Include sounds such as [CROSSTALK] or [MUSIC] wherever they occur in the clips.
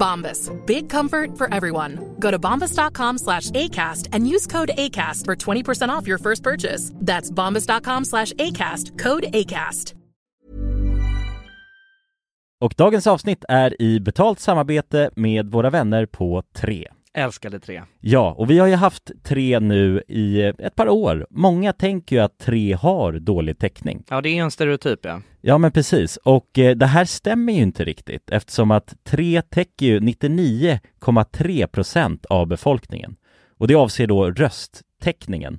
Bombas. Big comfort for everyone. Go to bombas.com slash ACAST and use code ACAST for 20% off your first purchase. That's bombas.com slash ACAST. Code ACAST. Och dagens avsnitt är i betalt samarbete med våra vänner på 3. Älskade tre. Ja, och vi har ju haft 3 nu i ett par år. Många tänker ju att 3 har dålig täckning. Ja, det är en stereotyp ja. Ja, men precis. Och eh, det här stämmer ju inte riktigt eftersom att 3 täcker ju 99,3 procent av befolkningen. Och det avser då rösttäckningen.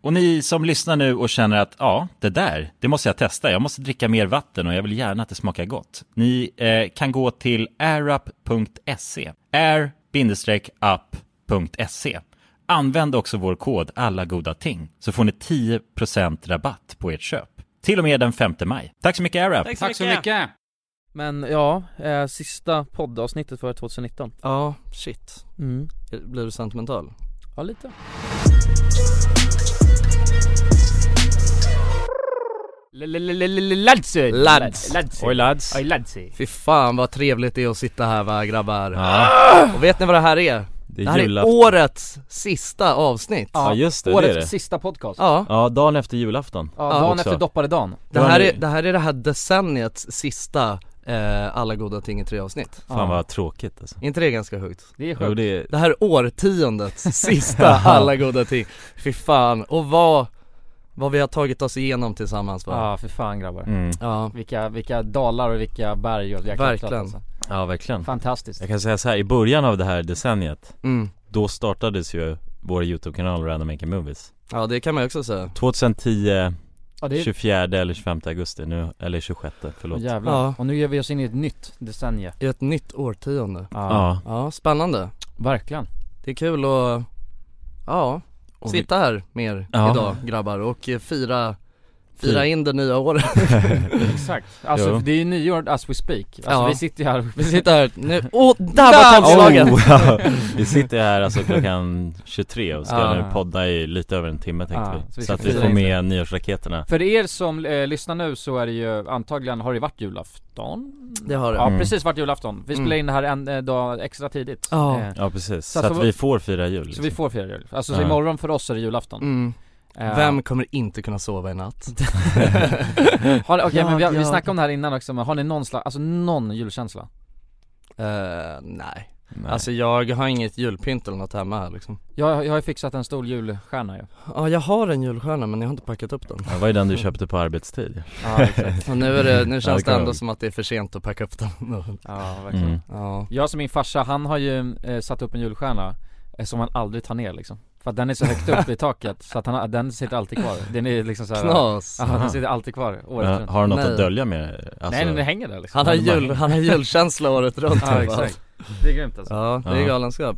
Och ni som lyssnar nu och känner att ja, det där, det måste jag testa. Jag måste dricka mer vatten och jag vill gärna att det smakar gott. Ni eh, kan gå till airup.se. air-up.se. Använd också vår kod alla goda ting så får ni 10% rabatt på ert köp. Till och med den 5 maj. Tack så mycket AirUp! Tack så mycket! Men ja, eh, sista poddavsnittet för 2019 Ja, shit. mm. Blir du sentimental? Ja lite Ladsi! Lads. Ladsi! Oj, lads. Oj ladsi! Fy fan vad trevligt det är att sitta här va grabbar? Ja. Och vet ni vad det här är? Det Det, är här julafton. är årets sista avsnitt Ja, just det, det är Årets det. sista podcast Ja, Ja, dagen efter julafton. Ja, dagen Också. efter dopparedagen det Då har här, ni- är, det här är det här decenniets sista eh, Alla goda ting i tre avsnitt Ja. Fan vad tråkigt alltså. Är inte det ganska högt? Det är Jo, sjukt det är... Det här är årtiondets [LAUGHS] sista Alla goda ting Fy fan, och vad, vad vi har tagit oss igenom tillsammans va? alltså. Ja för fan grabbar Mm. Ja, Vilka, vilka dalar och vilka berg och vi har klättrat, Verkligen. alltså. Ja, verkligen. Fantastiskt Jag kan säga så här, i början av det här decenniet, mm. då startades ju vår YouTube-kanal Random Making Movies. ja det kan man ju också säga 2010, Ja det är 24 eller 25 augusti, nu, eller 26, förlåt. Ja. jävlar Ja. Och nu ger vi oss in i ett nytt decennium I ett nytt årtionde ja. Ja, spännande Verkligen Det är kul att, ja, Och vi- sitta här med er Ja. idag grabbar och eh, fira, Fira. fira in det nya [LAUGHS] året Exakt, alltså Jo. för det är ju nyår as we speak Alltså Ja. vi sitter ju här Vi sitter här nu, [LAUGHS] åh där var tandslagen! Oh, ja. [LAUGHS] Vi sitter här alltså klockan 23 och ska Ja. nu podda i lite över en timme tänkte Ja, så vi. Så, vi ska att vi fira får in det. med nyårsraketerna. För er som eh, lyssnar nu så är det ju antagligen, har det varit julafton? Det har det Ja Mm. precis varit julafton, vi Mm. spelar in det här en eh, dag extra tidigt Ja. Eh, Ja precis, Så så, att att, så- vi får fira jul. Så Liksom. vi får fira jul, alltså så Ja. imorgon för oss är det julafton mm. Eh, Vem kommer inte kunna sova i natt? har, Okej men vi, har- vi Jag- snackade om det här innan också, men har ni någon slags, alltså någon julkänsla? Eh, nej. Nej. alltså jag har inget julpynt eller något hemma här liksom Jag, jag har ju fixat en stor julstjärna ju Ja jag har en julstjärna men jag har inte packat upp den Ja, det var ju den du köpte på arbetstid. [LAUGHS] Ja exakt, Och nu är det, nu Ja, känns det det kan ändå jag. som att det är för sent att packa upp den ja verkligen Mm. Ja, Jag som min farsa, han har ju eh, satt upp en julstjärna eh, som han aldrig tar ner liksom För att den är så högt upp i taket så att han, har- den sitter alltid kvar Den är liksom såhär knas! Ja den sitter alltid kvar året Ja, runt har du något Nej. att dölja med? Alltså, Nej den hänger där liksom Han har jul, han har julkänsla [LAUGHS] året runt Ja va? exakt, det är grymt alltså Ja, det är Ja. galenskap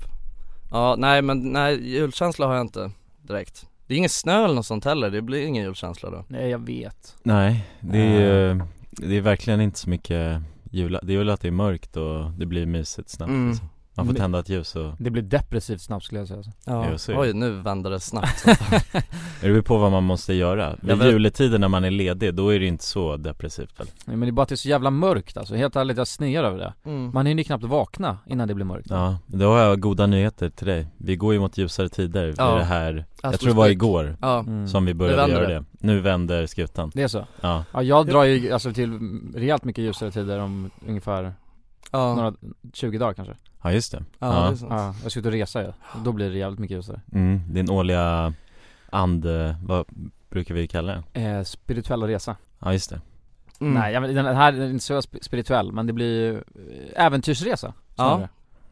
Ja, nej men nej, julkänsla har jag inte direkt Det är ingen snö eller något sånt heller, det blir ingen julkänsla då Nej jag vet Eh, Nej, det är ju, det är verkligen inte så mycket jula, det är väl att det är mörkt och det blir mysigt snabbt Mm. liksom. Man får tända ett ljus och... Det blir depressivt snabbt skulle jag säga alltså. Ja, jag ser. Oj, nu vänder det snabbt [LAUGHS] [LAUGHS] Det beror på vad man måste göra. Vid Jag vet- juletiden när man är ledig, då är det inte så depressivt väl? Nej, men det är bara att det är så jävla mörkt alltså, helt ärligt jag snear över det Mm. Man hinner ju knappt vakna innan det blir mörkt Ja, då har jag goda nyheter till dig. Vi går ju mot ljusare tider Ja. ja. det här, jag Alltså, Astros tror det var Peak. igår, Ja. Mm. som vi Nu började vänder göra det. det. Nu vänder skutan. Det är så? Ja. Ja jag drar ju alltså till rejält mycket ljusare tider om ungefär Ja. några, 20 dagar kanske Ja, just det. Ja, det är sant. ja jag ska ut och resa ja. då blir det jävligt mycket ljusare Mm, din årliga and, eh, vad brukar vi kalla det? eh, Spirituella resa Ja, just det. Mm. Nej, jag, vet- den här är inte så sp- spirituell, men det blir ju eh, äventyrsresa snarare.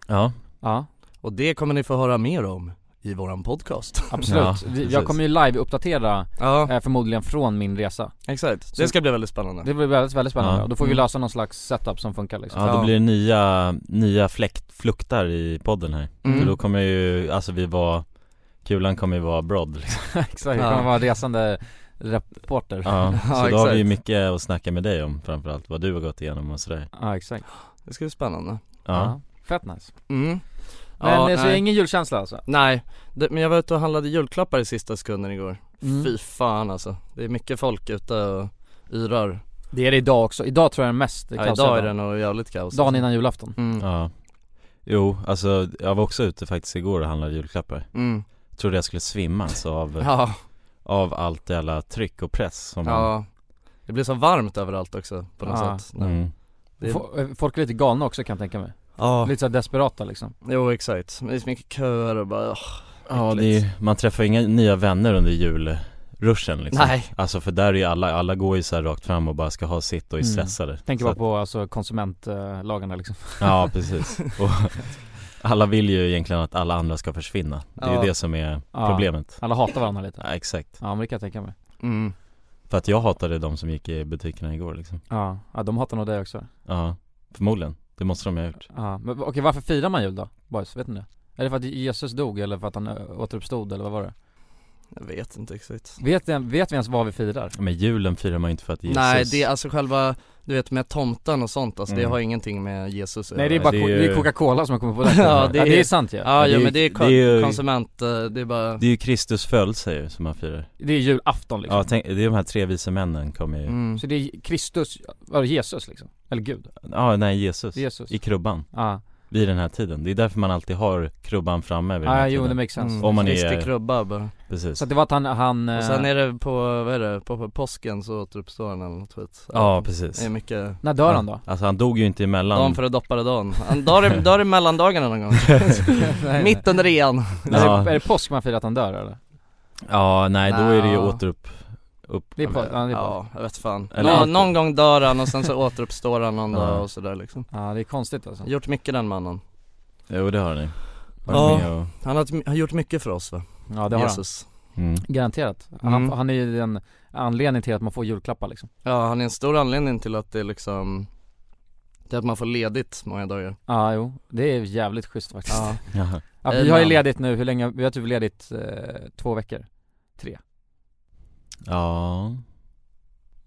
Ja. Ja. Och det kommer ni få höra mer om i våran podcast [LAUGHS] Absolut. Vi- jag kommer ju live-uppdatera eh, förmodligen från min resa. Exakt, Så- det ska bli väldigt spännande Det blir väldigt, väldigt spännande. Ja. Och då får vi Mm. lösa någon slags setup som funkar liksom. Ja, då blir det nya, nya fläkt, fluktar i podden här. Mm. För då kommer ju, alltså vi var, kulan kommer ju vara [LAUGHS] broad liksom. [LAUGHS] Exakt, jag kommer vara resande reporter. [LAUGHS] Ja, så då har vi ju mycket att snacka med dig om framförallt, vad du har gått igenom och sådär Ja, exakt. Det ska bli spännande Ja, Fett nice. Mm. Men Ja, eh, så nej. ingen julkänsla alltså? Nej, det, men jag var ute och handlade julklappar i sista sekunden igår Mm. Fy fan alltså, det är mycket folk ute och yrar Det är det idag också. Idag tror jag den mest ja, kaosiga idag är dagen. det nog jävligt kaos Dagen innan julafton. Mm. Ja Jo, alltså jag var också ute faktiskt igår och handlade julklappar Mm. jag Trodde jag skulle svimma alltså av, [LAUGHS] Ja. av allt jävla tryck och press som man Ja, det blir så varmt överallt också på något Ja. sätt Mm. Det- Fo- eh, Folk är lite galna också kan jag tänka mig. Ja. Lite såhär desperata liksom. Jo exakt, men det är så mycket köer och bara åh. Ja, det är, ju- man träffar ju inga nya vänner under julruschen liksom [LAUGHS] Nej. Alltså för där är ju alla, alla går ju så här rakt fram och bara ska ha sitt och är Mm. stressade Tänker Så bara på alltså konsumentlagarna liksom. Ja [LAUGHS] precis, och alla vill ju egentligen att alla andra ska försvinna Det är Ja. ju det som är Ja. problemet Alla hatar varandra lite. Ja, exakt Ja men det kan jag tänka mig. Mm. För att jag hatade de som gick i butikerna igår liksom Ja, ja de hatar nog dig också. Ja, förmodligen, det måste de ha gjort Ja, men okej varför firar man jul då? Boys, vet ni det? Är det för att Jesus dog eller för att han ö, återuppstod eller vad var det? Jag vet inte exakt Vet, vi- vet vi ens vad vi firar? Men julen firar man ju inte för att Jesus Nej det är alltså själva, du vet med tomten och sånt alltså, det Mm. har ingenting med Jesus Nej det är bara det är co- ju- det är Coca-Cola som [LAUGHS] har kommit på det. Ja, det ja, det är- är sant ju. Ja, Ja, ja det är- men det är, ko- det är ju- konsument, eh, det är bara Det är ju Kristus födelse ju som man firar Det är julafton liksom. Ja, tänk, det är de här tre vise männen kommer ju mm. Så det är Kristus, var det Jesus liksom? Eller Gud? Ja, nej Jesus, Jesus. i krubban Ja, vid den här tiden Det är därför man alltid har krubban framme vid den här ah, jo tiden det makes sense. Mm. Om man är- Kristi krubba bara. Precis Så att det var att han, han... Och sen eh, är det på, vad är det, på, på påsken så återuppstår han eller något skit Ja, precis Det är mycket, När dör han då? Alltså han dog ju inte emellan dagen före dopparedagen, Han- då är det- då är det mellandagarna någon gång, Nej. mitt under rean Är, Ja. det, är det påsk man firar att han dör eller? Ja, nej då är det ju Ja. återupp upp. Det är på, ja, det är på. Ja. Ja, jag vet fan. Eller Nå- inte. någon gång dör han och sen så återuppstår han någon Ja. dag och sådär liksom det är konstigt alltså. Gjort mycket den mannen Jo det har ni Ja. Varit med och... Han har, har gjort mycket för oss va? Ja det har han. Jesus. mm. Garanterat. Han, Mm. han är ju den anledningen till att man får julklappar liksom. Ja, han är en stor anledning till att det liksom Till att man får ledigt många dagar Ja, jo. Det är jävligt schysst faktiskt. Ja. Jaha. vi har ju Amen. ledigt nu, hur länge? Vi har typ ledigt eh, två veckor. Ja,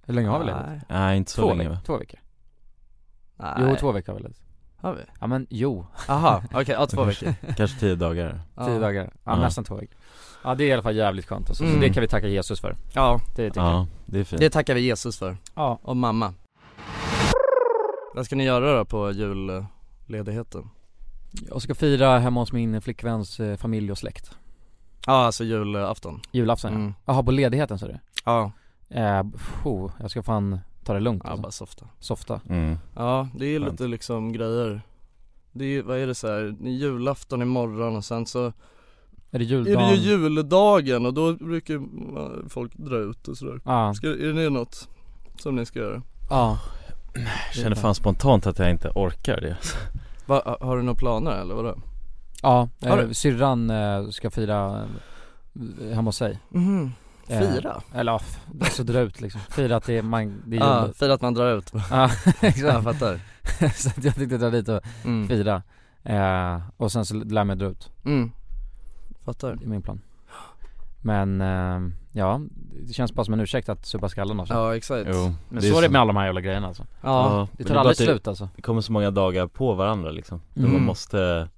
Hur länge har vi ledigt? Nej, nej inte så två, länge veckor. va? två veckor. Nej. Jo, två veckor har vi ledigt. Har vi? Ja men jo, Aha, okej, ja två veckor Kanske [LAUGHS] tio dagar ja. tio dagar. Ja, Ja. nästan två veckor. Ja det är i alla fall jävligt skönt alltså. Mm. Så det kan vi tacka Jesus för. Ja, Det tycker jag. Ja, det är fint det tackar vi Jesus för, Ja. och mamma Vad ska ni göra då på julledigheten? Jag ska fira hemma hos min flickväns eh, familj och släkt. Ja, alltså julafton Julafton ja. Mm. Jaha, på ledigheten sa du? Ja, Eh, pff, jag ska fan ta det lugnt ja alltså. bara softa Softa. mm. Ja, det är ju Skönt. lite liksom grejer Det är ju, vad är det så här? det är julafton imorgon och sen så Är det är juldagen? det ju juldagen och då brukar eh, folk dra ut och sådär Ja, ska, Är det något som ni ska göra? ja. Jag känner fan spontant att jag inte orkar det Va, har du några planer eller vadå? Ja, Har eh, du- syrran eh, ska fira eh, hemma hos sig Mhm, Eh, fira? Eller ja, f- alltså dra ut liksom, fira att det är, man, det är Ah. Ja, jul [LAUGHS] fira att man drar ut, Ja, jag exakt fattar Så att jag tänkte dra dit och mm. fira eh, Och sen så lär jag mig dra ut, mm, fattar det är min plan Men eh, ja, det känns bara som en ursäkt att supa skallen också Ja exakt Jo, Men så är det med alla de här jävla grejerna alltså Ja, Ja, Det men tar är bara aldrig att det- slut alltså Det kommer så många dagar på varandra liksom Då Mm. man måste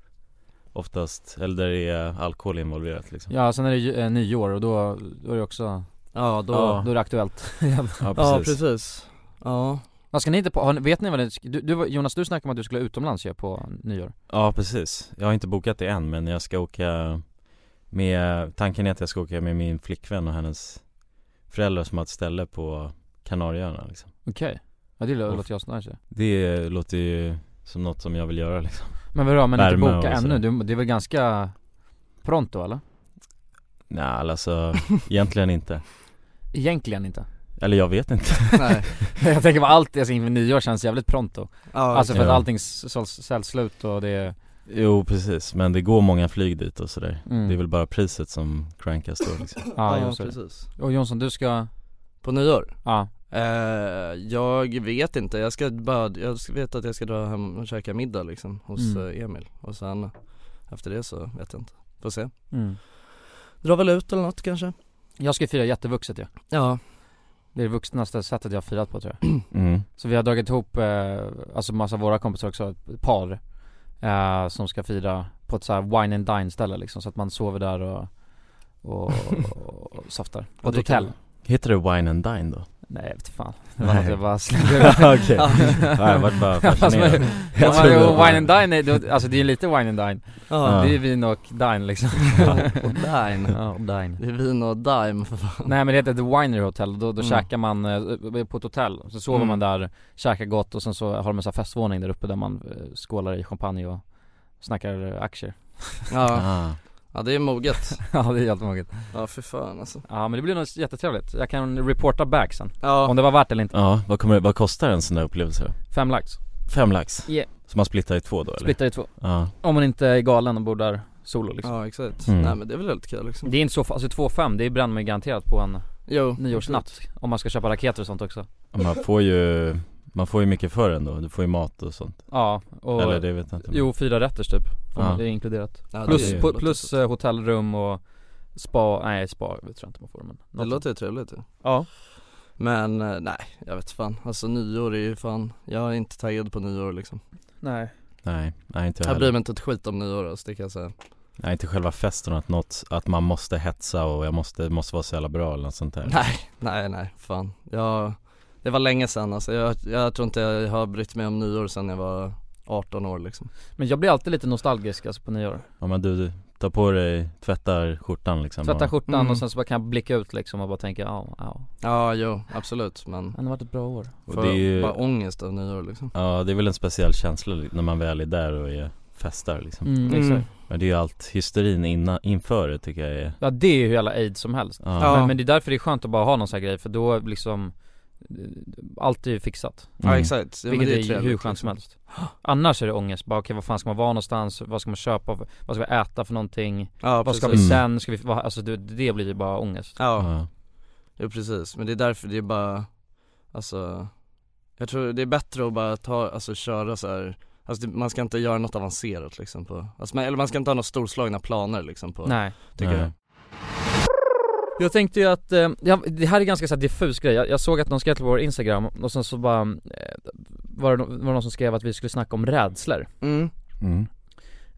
oftast, eller där det är alkohol involverat liksom Ja, sen är det ju, eh, nyår och då, då är det också Ja, då- då är det aktuellt igen. Ja, Ja, precis. Ja. Vad ska ni inte på, har ni- vet ni vad ni, du, du, Jonas du snackade om att du skulle utomlands ju på nyår Ja precis, jag har inte bokat det än men jag ska åka med, tanken är att jag ska åka med min flickvän och hennes föräldrar som har ett ställe på Kanarieöarna liksom Okej, ja det lå- Och- låter ju asnice Det låter ju som något som jag vill göra liksom Men vadå, men inte Värme boka och sådär. ännu? Du, det är väl ganska pronto eller? Nej alltså, egentligen inte Egentligen inte [LAUGHS] Eller jag vet inte Nej Jag tänker på allt, alltså inför nyår känns jävligt pronto Ja, Alltså för att ja. allting såls- säljs slut och det är Jo precis, men det går många flyg dit och sådär Mm. Det är väl bara priset som crankas då [LAUGHS] liksom Ja, Ja, jo, så är det. precis. Och Jonsson du ska På nyår? Ja Eh, jag vet inte, jag ska bara, jag ska- vet att jag ska dra hem och käka middag liksom hos Mm. eh, Emil och sen efter det så vet jag inte, får se Mm. Dra väl ut eller något kanske? Jag ska fira jättevuxet ju Ja Det är det vuxnaste sättet jag har firat på tror jag Mm. Så vi har dragit ihop, eh, alltså massa av våra kompisar också, ett par eh, Som ska fira på ett så här wine and dine ställe liksom, så att man sover där och, och, och, softar På ett hotell Heter det Wine and Dine då? Nej jag vet fan, det Nej. var något [LAUGHS] jag bara Ja, Okej, ja, jag vart [LAUGHS] bara fascinerad Ja, Jag men, trodde- jo, Wine and Dine, är, då- alltså det är ju lite Wine and Dine Ja. Det är ju vin och dine liksom Och dine. Ja, och [LAUGHS] dine Det är vin och dime för fan Nej men det heter The Winery Hotel, då, då Mm. käkar man eh, på ett hotell, så sover Mm. man där, käkar gott och sen så har de en sån här festvåning där uppe där man eh, skålar i champagne och snackar eh, [LAUGHS] aktier Ja, [LAUGHS] Ah. ja det är moget Ja det är helt moget Ja för fan alltså Ja men det blir nog jättetrevligt, jag kan reporta back sen Ja. Om det var värt det eller inte Ja, vad, kommer, vad kostar en sån där upplevelse då? Fem lax Fem lax? Yeah. Så man splittar i två då eller? Splittar i två Ja, Om man inte är galen och bor där solo liksom Ja exakt, Mm. nej men det är väl väldigt kul liksom Det är inte så, alltså 2,5 det bränner man ju garanterat på en Jo, nyårsnatt Om man ska köpa raketer och sånt också man får ju, man får ju mycket för den då, du får ju mat och sånt Ja, och Eller det vet jag inte Jo, fyra rätter typ, Får Ja. man- det är inkluderat Ja, det Plus, är- på, plus eh, hotellrum och spa, nej spa vet jag inte man får men Det låter ju trevligt ju Ja Men eh, nej, jag vet fan, alltså nyår är ju fan, jag är inte taggad på nyår liksom Nej Nej, nej inte jag Jag heller bryr mig inte ett skit om nyår alltså, det kan jag säga Nej inte själva festen att något, att man måste hetsa och jag måste, måste vara så jävla bra eller något sånt där Nej, nej, nej, fan. Jag, det var länge sedan alltså. jag, jag tror inte jag har brytt mig om nyår sedan jag var 18 år liksom Men jag blir alltid lite nostalgisk alltså på nyår Ja men du, du tar på dig, tvättar skjortan liksom Tvätta och- skjortan Mm. och sen så bara kan jag blicka ut liksom och bara tänka ja, ja Ja, jo, absolut men Det har varit ett bra år Och Får det är ju- bara ångest av nyår liksom Ja det är väl en speciell känsla li- när man väl är där och är, festar liksom Mm, exakt. Mm. Men det är ju allt, hysterin innan, inför det tycker jag är Ja det är ju hur jävla aids som helst Ja. men, men det är därför det är skönt att bara ha någon sån här grej för då liksom eh, allt är ju fixat Mm. Ja, exakt. Ja, men Vilket det är är, trevligt, liksom. hur skönt som helst Annars är det ångest, bara okej vad fan ska man vara någonstans, vad ska man köpa, vad ska vi äta för någonting? Ja, vad ska vi precis. sen, ska vi, vad, alltså det, det blir ju bara ångest Ja, jo precis, men det är därför det är bara, alltså Jag tror det är bättre att bara ta, alltså köra så här. Alltså det, man ska inte göra något avancerat liksom på, alltså, man, eller man ska inte ha några storslagna planer liksom på Nej. Tycker Nej. jag Jag tänkte ju att, eh, jag, det här är ganska så här diffus grej, jag, jag såg att någon skrev till vår instagram och sen så bara eh, var, det, no- var det någon som skrev att vi skulle snacka om rädslor Mm. Mm.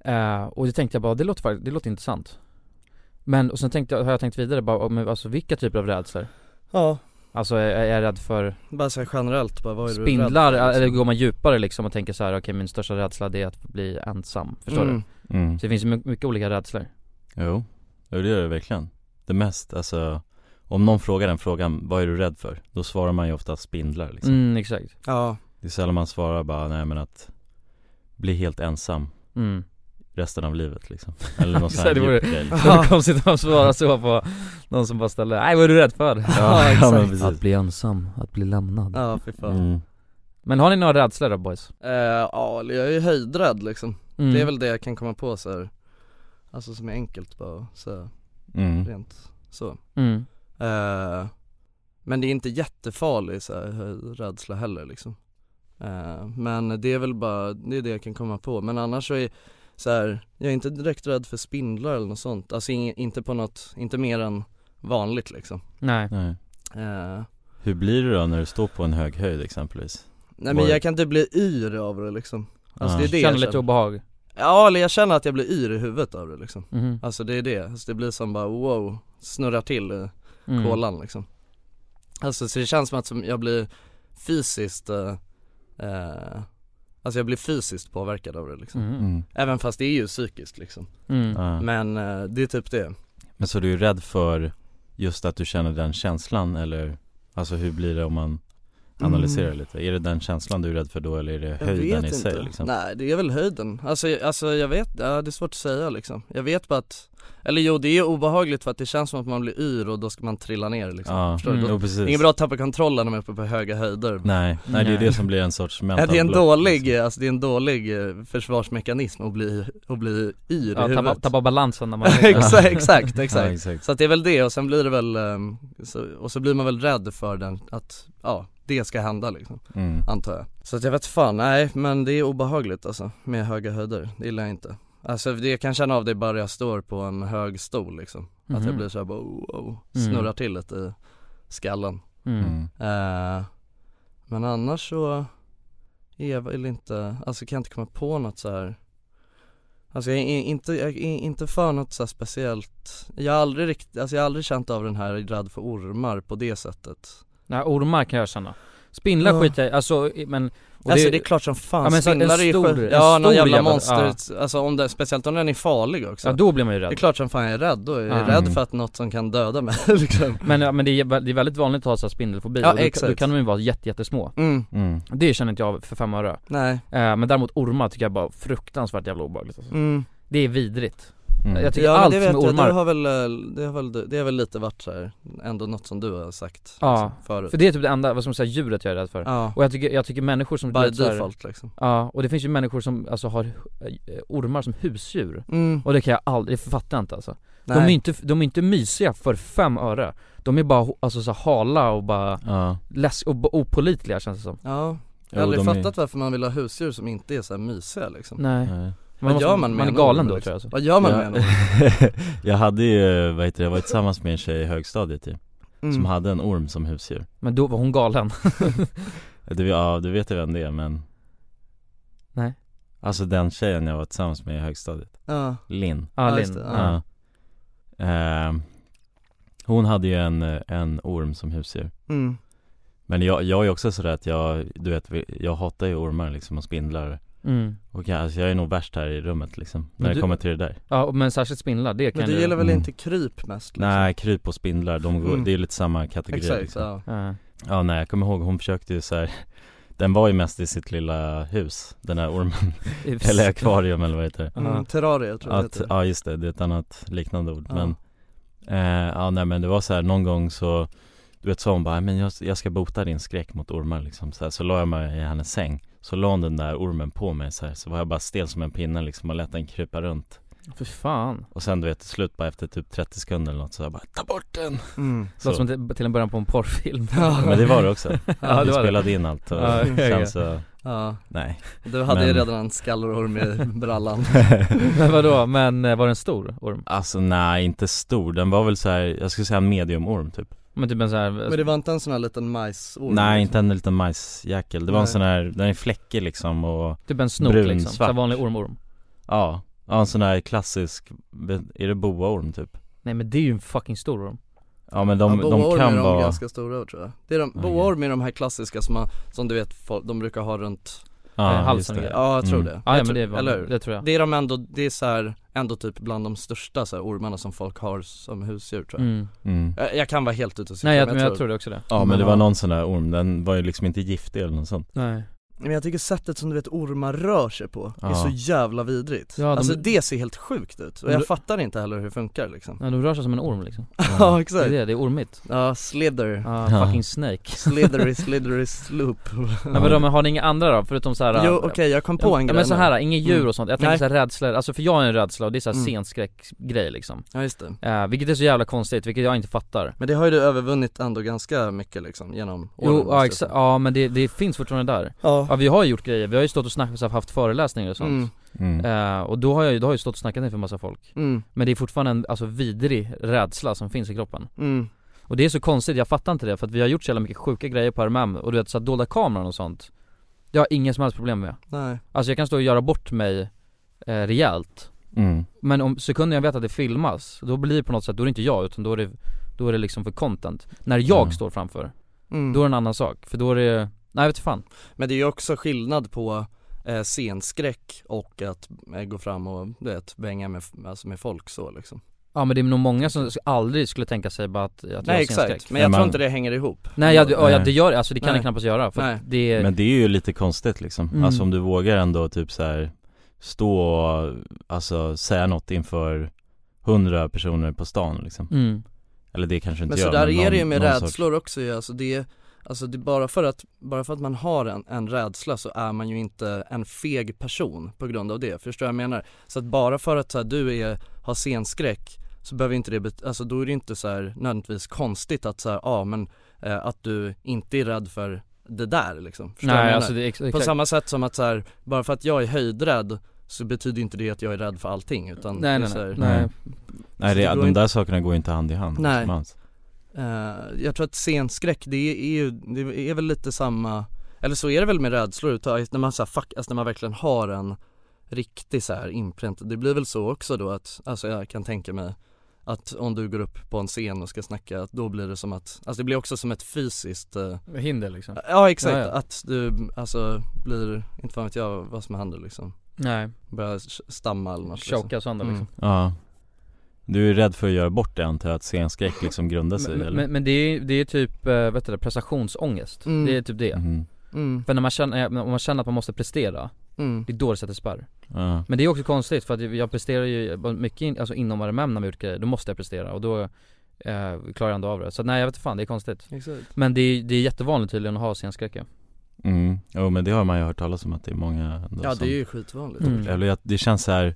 Eh, och det tänkte jag bara, det låter, fakt- det låter intressant Men, och sen tänkte jag, har jag tänkt vidare bara, om, alltså vilka typer av rädslor? Ja Alltså är, är jag rädd för Bara såhär generellt bara, vad är du rädd spindlar, för, liksom? eller går man djupare liksom och tänker så här: okej min största rädsla det är att bli ensam, förstår Mm. du? Mm. Så det finns ju my- mycket olika rädslor Jo, jo det gör det verkligen Det mest, alltså Om någon frågar den frågan, vad är du rädd för? Då svarar man ju ofta spindlar liksom Mm, exakt Ja Det är sällan man svarar bara, nej men att Bli helt ensam Mm. Resten av livet liksom Eller någon sån här det vore djup [LAUGHS] grej liksom. det vore konstigt om man svarade så på någon som bara ställer, nej vad är du rädd för? Ja, [LAUGHS] ja, men precis. Att bli ensam, att bli lämnad Ja, fy fan. Mm. Men har ni några rädslor då boys? Eh, ja, eller jag är ju höjdrädd liksom Mm. Det är väl det jag kan komma på så här. Alltså som är enkelt bara att säga Mm. rent så Mm. Eh, Men det är inte jättefarlig så här, höjdrädsla heller liksom Eh, Men det är väl bara, det är det jag kan komma på Men annars så är så här, jag är inte direkt rädd för spindlar eller något sånt Alltså ing- inte på något, inte mer än vanligt liksom Nej Nej. Eh, Hur blir det då när du står på en hög höjd exempelvis? Nej men Var- jag kan inte bli yr av det liksom Alltså Ah. det är det Känner jag lite obehag? Ja eller jag känner att jag blir yr i huvudet av det liksom Mhm. Alltså det är det, alltså, det blir som bara wow, snurrar till i Mm. kolan liksom Alltså så det känns som att som jag blir fysiskt eh, eh, Alltså jag blir fysiskt påverkad av det liksom Mm. Mm. Även fast det är ju psykiskt liksom Mm. Ja. Men eh, det är typ det Men så du är rädd för just att du känner den känslan eller? Alltså hur blir det om man analyserar Mm. lite? Är det den känslan du är rädd för då eller är det Jag höjden vet i sig inte. liksom? Nej det är väl höjden, alltså, jag- alltså jag vet, ja, det är svårt att säga liksom Jag vet bara att, eller jo det är obehagligt för att det känns som att man blir yr och då ska man trilla ner liksom Ja, Förstår mm. du? jo, precis. Det är inget bra att tappa kontrollen när man är uppe på höga höjder Nej, nej, det är det som blir en sorts [LAUGHS] Ja, mental det är en block, liksom. dålig, alltså det är en dålig eh, försvarsmekanism att bli, att bli yr i Ja, tappa- huvudet [LAUGHS] tappa balansen när man- exakt, exakt, Ja, exakt. exakt. Så att det är väl det och sen blir det väl, ehm, så, och så blir man väl rädd för den, att, ja, det ska hända liksom, Mm. antar jag Så att jag vet fan, nej men det är obehagligt alltså, med höga höjder, det gillar jag inte Alltså det jag kan känna av det är bara jag står på en hög stol liksom, att jag Mhm. blir såhär bara oh, oh, Mm. snurrar till lite i skallen Mm. Eh, Men annars så är jag väl inte, alltså kan jag inte komma på något så här. Alltså jag är i- inte, jag är inte för något så här speciellt Jag har aldrig riktigt, alltså jag har aldrig känt av den här rädd för ormar på det sättet Nej ormar kan jag känna Spindlar Ja. skiter jag i, alltså i- men och Alltså det är klart som fan, ja, men så en spindlar är ju stor- sjuk- en Ja någon stor jävla jävel, monster, ja. alltså om den, speciellt om den är farlig också Ja, då blir man ju rädd. Det är klart som fan jag är rädd, då är jag Mm. rädd för att något som kan döda mig [LAUGHS] liksom Men, ja, men det, är, vä- det är väldigt vanligt att ha så här spindelfobi Ja, och då, exakt. då kan de ju vara jätte, jättesmå Mm. Mm. Det känner inte jag för fem öre Nej. eh, Men däremot ormar tycker jag bara fruktansvärt jävla obehagligt alltså. Mm. Det är vidrigt Mm. Jag tycker men allt det med vet jag, ormar Det har väl, eh, det har väl, du- det har väl lite varit så här, ändå något som du har sagt Ja, liksom, förut för det är typ det enda, vad ska man säga, djuret jag är rädd för Ja. Och jag tycker, jag tycker människor som By du vet, så här- default, liksom. Ja, och det finns ju människor som alltså har eh, ormar som husdjur Mm. Och det kan jag aldrig, det fattar jag inte alltså De Nej. är inte, de är inte mysiga för fem öre De är bara ho- alltså så här hala och bara ja. läs och b- opålitliga känns det som Ja, jag Jo, har aldrig de är- fattat varför man vill ha husdjur som inte är så här mysiga liksom Nej. Nej. Vad Man gör måste- man med man är en galen orm, då, liksom? tror jag, alltså. Vad gör man med en jag, orm? [LAUGHS] jag hade ju, vad heter det, jag var tillsammans med en tjej i högstadiet ju, Mm. Som hade en orm som husdjur Men då var hon galen du, Ja du vet ju vem det är men Nej. Alltså den tjejen jag var tillsammans med i högstadiet Ja. Linn Ja, Ja, just Linn. det, ja. Ehm, Hon hade ju en, en orm som husdjur Mm. Men jag, jag är också sådär att jag, du vet, jag hatar ju ormar liksom och spindlar Mm. Och jag, alltså jag är nog värst här i rummet liksom, Men när du- det kommer till det där Ja, men särskilt spindlar, det kan Men du ju- gillar väl Mm. inte kryp mest? Nej, kryp och spindlar, de går, Liksom. Mm. det är lite samma kategori Exakt, liksom. ja. Ja. ja nej jag kommer ihåg, hon försökte ju så här. Den var ju mest i sitt lilla hus, den här ormen Hus. Eller akvarium eller vad det heter Mm, terrarie tror jag det Att- heter. Ja just det, det är ett annat liknande ord Ja. men eh, Ja nej men det var så här någon gång så Du vet så hon bara, men jag, jag ska bota din skräck mot ormar liksom så, här, så la jag mig i hennes säng Så la hon den där ormen på mig så, här, så var jag bara stel som en pinne liksom och lät den krypa runt För fan Och sen du vet till slut bara efter typ 30 sekunder eller något så jag bara Ta bort den! Mm. Låter som till- till en början på en porrfilm Ja. Men det var det också. [LAUGHS] Ja, Vi det var det. spelade in allt och Ja, sen ja, ja. så- Ja. [LAUGHS] Nej. Du hade ju Men- redan en skallerorm i brallan Men vadå, men eh, var det en stor orm? Alltså nej inte stor, den var väl så här, jag skulle säga en mediumorm typ Men typ en sån här Men det var inte en sån här liten majsorm? liksom? Nej inte en liten majsjäkel, det var en Nej. sån här, den är fläckig liksom och Typ en snok brun, liksom, så svart. här vanlig ormorm Ja, ja en sån här klassisk, vet- är det boaorm typ? Nej men det är ju en fucking stor orm Ja men de, ja, de boaorm kan är de vara ganska stora tror jag Det är de, boaorm är de här klassiska som, man, som du vet folk, de brukar ha runt Ja, eh, just det. Ja jag tror Mm. det Ja, ja, jag men tror- det är vanligt. eller hur? Det tror jag. Mm. Det är de ändå, det är så här, ändå typ bland de största så här, ormarna som folk har som husdjur tror jag Mm. Mm. jag, jag kan vara helt ute och cykla Nej, jag- men jag tror det också det. Ja men det var någon sån där orm, den var ju liksom inte giftig eller något sånt Nej Men jag tycker sättet som du vet ormar rör sig på är Ja. så jävla vidrigt Ja, de- Alltså det ser helt sjukt ut och Men jag du- fattar inte heller hur det funkar liksom Ja, de rör sig som en orm liksom [LAUGHS] Ja, exakt. Det är det, det är ormigt Ja, slither Ja, fucking [LAUGHS] snake Slithery, slithery sloop Men vadå, men har ni inga andra då? Förutom såhär Jo, okej, jag kom på en ja, grej Men så här, nu. inga djur Mm. och sånt, jag tänker Nej. såhär rädslor, alltså för jag är en rädsla och det är såhär Mm. scenskräcksgrej liksom Ja, just det Eh, Vilket är så jävla konstigt, vilket jag inte fattar Men det har ju du övervunnit ändå ganska mycket liksom genom åren Jo, ja, exa- alltså. ja men det, det finns fortfarande där Ja. vi har ju gjort grejer, vi har ju stått och snackat, så här, haft föreläsningar och sånt Mm. Eh, Och då har jag ju, då har jag ju stått och snackat inför massa folk Mm. Men det är fortfarande en, alltså vidrig rädsla som finns i kroppen Mm. Och det är så konstigt, jag fattar inte det för att vi har gjort så jävla mycket sjuka grejer på RMM och du vet så här, dolda kameran och sånt Det har jag inga som helst problem med Nej. Alltså jag kan stå och göra bort mig eh, rejält Mm. Eh, Men om sekunden jag vet att det filmas, då blir det på något sätt, då är det inte jag utan då är det, då är det liksom för content När jag Mm. står framför, Mm. då är det en annan sak, för då är det, nej vet fan Men det är ju också skillnad på eh, scenskräck och att eh, gå fram och du vet, bänga med, alltså med folk så liksom Ja men det är nog många som aldrig skulle tänka sig bara att, att jag Nej har exakt, scenskräck. men jag tror inte det hänger ihop Nej jag, ja, Nej. det gör alltså det kan Nej. det knappast göra för att Nej. det är Men det är ju lite konstigt liksom, Mm. alltså om du vågar ändå typ så här stå och alltså säga något inför hundra personer på stan liksom Mm. Eller det kanske inte Men gör, så där men är någon- det ju med någon sorts- rädslor också ju, alltså det, alltså det är bara för att, bara för att man har en, en rädsla så är man ju inte en feg person på grund av det, förstår du vad jag menar? Så att bara för att så här, du är, har scenskräck så behöver inte det, bet- alltså då är det inte så här nödvändigtvis konstigt att så här, ja men eh, att du inte är rädd för det där liksom, förstår du vad Nej, jag menar? alltså det är ex- På exakt. samma sätt som att så här, bara för att jag är höjdrädd så betyder inte det att jag är rädd för allting utan Nej, det är nej, så här, nej. Nej. Nej Så det, det går de inte- där sakerna går ju inte hand i hand Nej. liksom alls. Eh, jag tror att scenskräck, det är, är ju, det är väl lite samma, eller så är det väl med rädslor överhuvudtaget, när man så här, fuck, alltså när man verkligen har en riktig så här inpränt, det blir väl så också då att, alltså jag kan tänka mig att om du går upp på en scen och ska snacka, att då blir det som att, alltså det blir också som ett fysiskt eh, Hinder, liksom. Ja exakt, Ja, ja. att du alltså blir, inte fan vet jag vad som händer liksom Nej. Börjar s- stamma eller något Choka Mm, sönder, liksom. Ja Du är rädd för att göra bort det antar jag, att scenskräck liksom grundar sig i, Men, eller? men, men det är det är typ, eh, vet du det, prestationsångest Mm. Det är typ det Mhm. Mm. För när man känner, eh, om man känner att man måste prestera Mm. Det är då det sätter spärr Ja. Men det är också konstigt för att jag presterar ju mycket in, alltså inom RMM när vi gjort grejer, då måste jag prestera och då eh, klarar jag ändå av det Så att, nej jag vet inte fan, det är konstigt Exakt. Men det är, det är jättevanligt tydligen att ha scenskräck ja. Mm, jo men det har man ju hört talas om att det är många ändå Ja, det som- är ju skitvanligt. Mm. Eller att det känns så här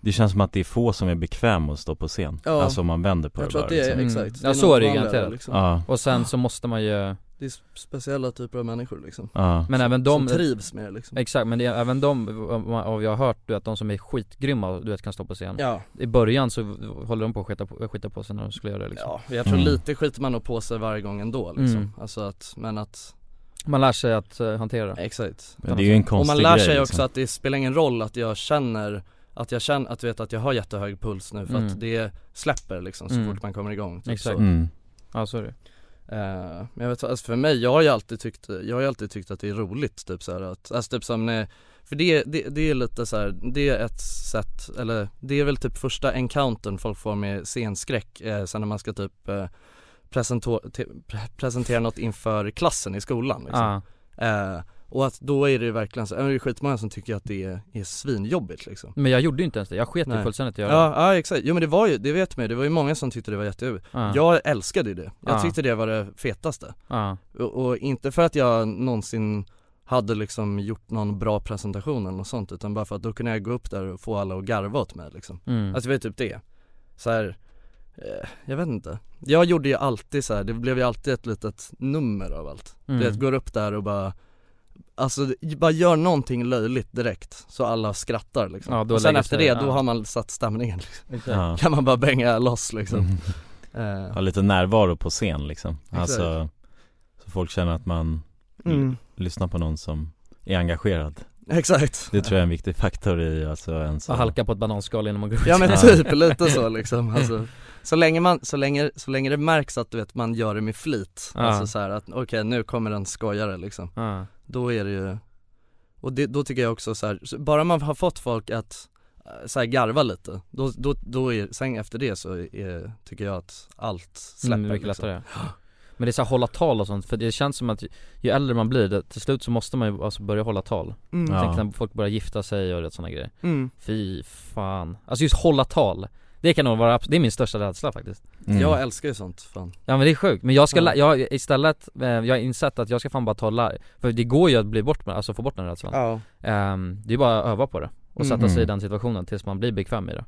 Det känns som att det är få som är bekväma att stå på scen Ja. Alltså om man vänder på Jag det tror bara att det är- liksom. exakt. Mm. Ja är så något är det ju vanligare, garanterat liksom. Ja. Och sen så måste man ju Det är speciella typer av människor liksom Ja. Men även de Som trivs med det liksom Exakt, men det, är även de, av jag har hört du vet, de som är skitgrymma du vet kan stå på scen Ja. I början så håller de på att skita på, skita på sig när de skulle göra det liksom Ja, Jag tror Mm. lite skiter man nog på sig varje gång ändå liksom Mm. Alltså att, men att Man lär sig att eh, hantera Exakt Men det är ju en Och konstig man lär grej, sig också liksom. att det spelar ingen roll att jag känner att jag känner, att vet att jag har jättehög puls nu för Mm. att det släpper liksom så Mm. fort man kommer igång typ Exakt så. Mm. Ja så är det Eh, Men jag vet alltså för mig, jag har ju alltid tyckt, jag har ju alltid tyckt att det är roligt typ så här att, alltså typ som när, för det, det, det är lite så här, det är ett sätt, eller det är väl typ första encountern folk får med scenskräck, eh, sen när man ska typ eh, presento- te- pre- presentera något inför klassen i skolan liksom. Ah. Eh, och att då är det ju verkligen så, ja, men det är skitmånga som tycker att det är, är svinjobbigt liksom Men jag gjorde ju inte ens det, jag sket ju Nej. fullständigt i att göra Ja, ja exakt, jo men det var ju, det vet man ju, det var ju många som tyckte det var jättejobbigt Ja. Jag älskade ju det, jag Ja. tyckte det var det fetaste Ja. och, och inte för att jag någonsin hade liksom gjort någon bra presentation eller något sånt utan bara för att då kunde jag gå upp där och få alla att garva åt mig liksom Mm. Alltså det var ju typ det så här, eh, jag vet inte Jag gjorde ju alltid så här, det blev ju alltid ett litet nummer av allt Mm. Du vet, går upp där och bara Alltså bara gör någonting löjligt direkt så alla skrattar liksom Ja, då Och sen lägger efter det, sig- då ja. har man satt stämningen liksom. [LAUGHS] Ja. Kan man bara bänga loss liksom Mm. Eh, Ha lite närvaro på scen liksom Exakt. Alltså Så folk känner att man l- Mm. lyssnar på någon som är engagerad Exakt. Det tror jag är en viktig faktor i alltså ens Att halka på ett bananskal innan man går ut Ja men typ [LAUGHS] lite så liksom alltså, så, länge man, så, länge, så länge det märks att du vet man gör det med flit, Ja. alltså så här att okej nu kommer en skojare liksom Ja. Då är det ju, och det, då tycker jag också så här, så bara man har fått folk att eh, så här garva lite, då, då, då är, sen efter det så är, tycker jag att allt släpper Mm, mycket liksom. lättare Men det är så här, hålla tal och sånt, för det känns som att ju- ju äldre man blir, det, till slut så måste man ju alltså börja hålla tal Mm. Tänk Ja. när folk börjar gifta sig och sådana grejer Mm. Fy fan, alltså just hålla tal Det kan nog vara, abs- det är min största rädsla faktiskt Mm. Mm. Jag älskar ju sånt fan Ja men det är sjukt, men jag ska, Ja. la- jag, istället, eh, jag har insett att jag ska fan bara ta larv, för det går ju att bli bort med, alltså få bort den rädslan Ja. Ehm, Det är bara att öva på det och Mm. sätta sig i Mm. den situationen tills man blir bekväm i det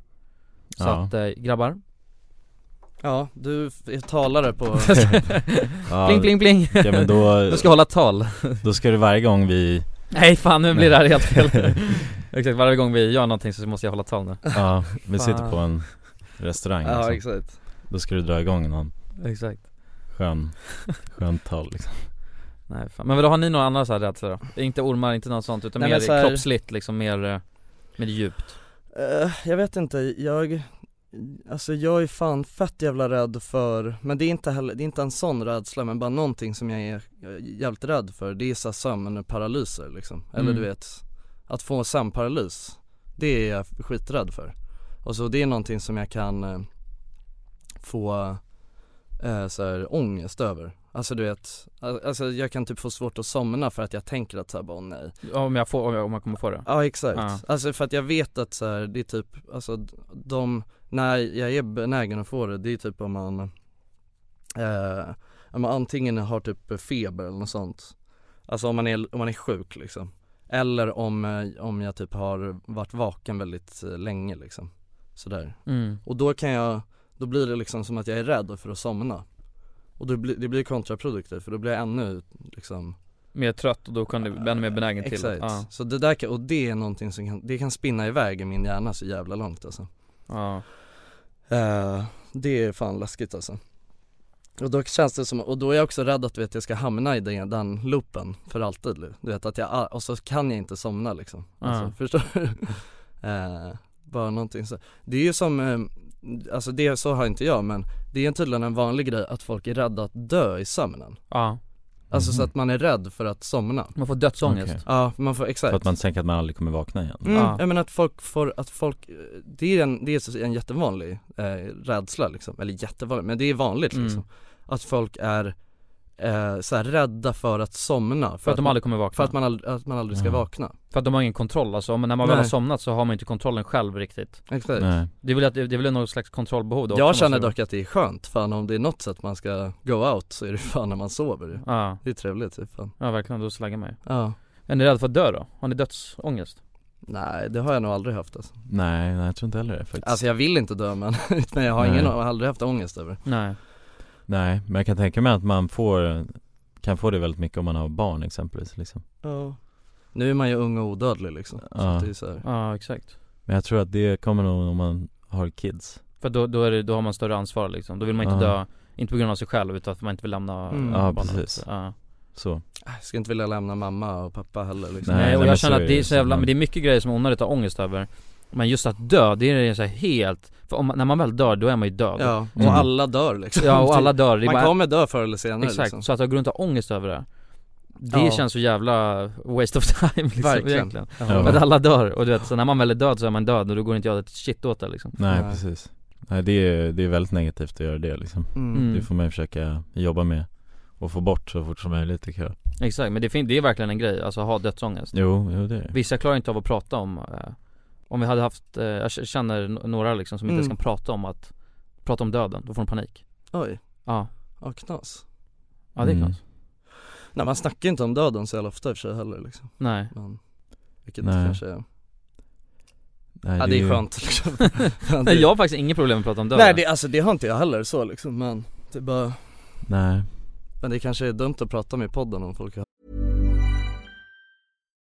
Så Ja. att, eh, grabbar, [LAUGHS] Ja, du f- är talare på Ja, Pling, pling, pling. Ja men då [LAUGHS] Du ska hålla tal Då ska du varje gång vi Nej fan nu blir det här helt [LAUGHS] fel Exakt, varje gång vi gör någonting så måste jag hålla tal nu Ja, vi sitter på Fan. en restaurang [LAUGHS] Ja, liksom. exakt. Då ska du dra igång någon Exakt skön, skön tal liksom Nej fan, men vadå har ni några andra så här rädslor då? Inte ormar, inte något sånt utan Nej, mer men så här- kroppsligt liksom, mer, eh, mer djupt Eh, jag vet inte, jag, alltså jag är fan fett jävla rädd för, men det är inte heller, det är inte en sån rädsla men bara någonting som jag är jävligt rädd för, det är såhär sömnparalyser liksom, eller Mm. du vet, att få en sömnparalys, det är jag skiträdd för. Och så det är någonting som jag kan eh, få eh, så här, ångest över. Alltså du vet, al- alltså jag kan typ få svårt att somna för att jag tänker att såhär bara åh nej Om jag får, om jag, om jag kommer få det? Ja exakt, Ja. alltså för att jag vet att så här, det är typ, alltså d- de, när jag är benägen att få det, det är typ om man, eh, om man antingen har typ feber eller något sånt Alltså om man är, om man är sjuk liksom Eller om, eh, om jag typ har varit vaken väldigt eh, länge liksom Sådär, Mm. och då kan jag, då blir det liksom som att jag är rädd för att somna Och det blir, det blir kontraproduktivt för då blir jag ännu liksom Mer trött och då kan du bli ännu mer benägen till Exakt, ja. så det där kan, och det är någonting som kan, det kan spinna iväg i min hjärna så jävla långt alltså Ja Eh, Det är fan läskigt alltså och då känns det som, och då är jag också rädd att du vet, jag ska hamna i den, den loopen för alltid Du vet att jag, och så kan jag inte somna liksom alltså, [LAUGHS] Ja. Förstår du? Eh, bara någonting så Det är ju som, eh, alltså det så har inte jag men Det är tydligen en vanlig grej att folk är rädda att dö i sömnen Ja Alltså Mhm. så att man är rädd för att somna Man får dödsångest. Okej. Ja, man får, exakt För att man tänker att man aldrig kommer vakna igen Mm, ja. men att folk får, att folk, eh, det är en, det är så- en jättevanlig eh, rädsla liksom, eller jättevanlig, men det är vanligt Mm. liksom Att folk är eh, så här rädda för att somna För, de aldrig kommer vakna. För att man, ald- att man aldrig ska Ja. vakna För att de har ingen kontroll alltså, men när man väl Nej. har somnat så har man inte kontrollen själv riktigt Exakt. Nej. Det är väl, att- det är väl något slags kontrollbehov då Jag också, känner måste dock att det är skönt, fan om det är något sätt man ska go out så är det fan när man sover ju. Ja. Det är trevligt typ fan Ja verkligen, då slaggar man ju Ja. Är ni rädda för att dö då? Har ni dödsångest? Nej det har jag nog aldrig haft alltså Nej, nej jag tror inte heller det faktiskt Alltså jag vill inte dö men, [LAUGHS] men jag har Nej. ingen, jag har aldrig haft ångest över det. Nej Nej, men jag kan tänka mig att man får, kan få det väldigt mycket om man har barn exempelvis liksom Ja. Nu är man ju ung och odödlig liksom, Ja. så det är så här. Ja exakt Men jag tror att det kommer nog om man har kids För då, då, är det, då har man större ansvar liksom, då vill man inte Ja. dö Inte på grund av sig själv utan för att man inte vill lämna Mm. Ja barnet. precis, ja. så Ah, Jag skulle inte vilja lämna mamma och pappa heller liksom. Nej, och jag känner är att det är det. så jävla, men det är mycket grejer som är onödigt att ha ångest över Men just att dö, det är så här helt, för om, man- när man väl dör då är man ju död Ja, och Mm. alla dör liksom [LAUGHS] Ja och alla dör, det är Man bara- kommer dö förr eller senare Exakt, liksom. så att ha grund att ha ångest över det Det Ja. känns så jävla waste of time [LAUGHS] liksom, Verkligen. egentligen Ja. För Att alla dör, och du vet så när man väl är död så är man död och då går inte jag ett shit åt det liksom Nej, precis Nej det är, det är väldigt negativt att göra det liksom Mm. Det får man ju försöka jobba med och få bort så fort som möjligt tycker jag Exakt, men det, fin- det är verkligen en grej, alltså att ha dödsångest Jo, jo det är det Vissa klarar inte av att prata om, eh, om vi hade haft, eh, jag k- känner n- några liksom som inte ens Mm. kan prata om att, prata om döden, då får de panik Oj, Ja, ja knas ja det är Mm. klart Nej man snackar inte om döden så jävla ofta i och för sig heller liksom Nej Men, Vilket Nej. kanske är, Nej, ja det är ju- [LAUGHS] skönt liksom Men det- Nej jag har faktiskt inget problem med att prata om döden Nej det, alltså det har inte jag heller så liksom men det är bara, Nej men det kanske är dumt att prata med i podden om folk har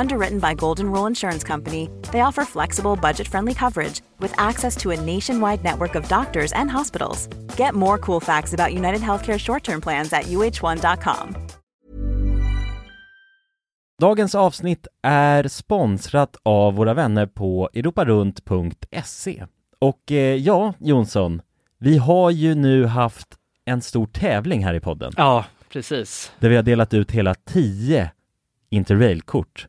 Underwritten by Golden Rule Insurance Company, they offer flexible, budget friendly coverage with access to a nationwide network of doctors and hospitals. Get more cool facts about United Healthcare short term plans at uh1.com. Dagens avsnitt är sponsrat av våra vänner på europarunt.se. Och eh, ja, Jonsson, vi har ju nu haft en stor tävling här i podden. Ja, precis. Där vi har delat ut hela 10 Interrail-kort.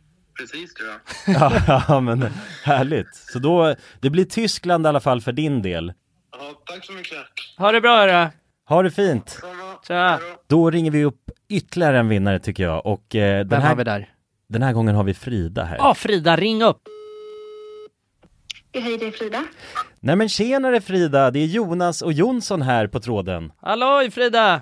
precis tror jag. [LAUGHS] ja, men härligt. Så då, det blir Tyskland i alla fall för din del. Ha det bra hörru. Ha det fint! Tja. Då ringer vi upp ytterligare en vinnare tycker jag och eh, den Vem här, har vi där? Den här gången har vi Frida här. Ja Frida, ring upp. Hej, det är Frida. Nej men tjenare Frida, det är Jonas och Jonsson här på tråden. Halloj Frida!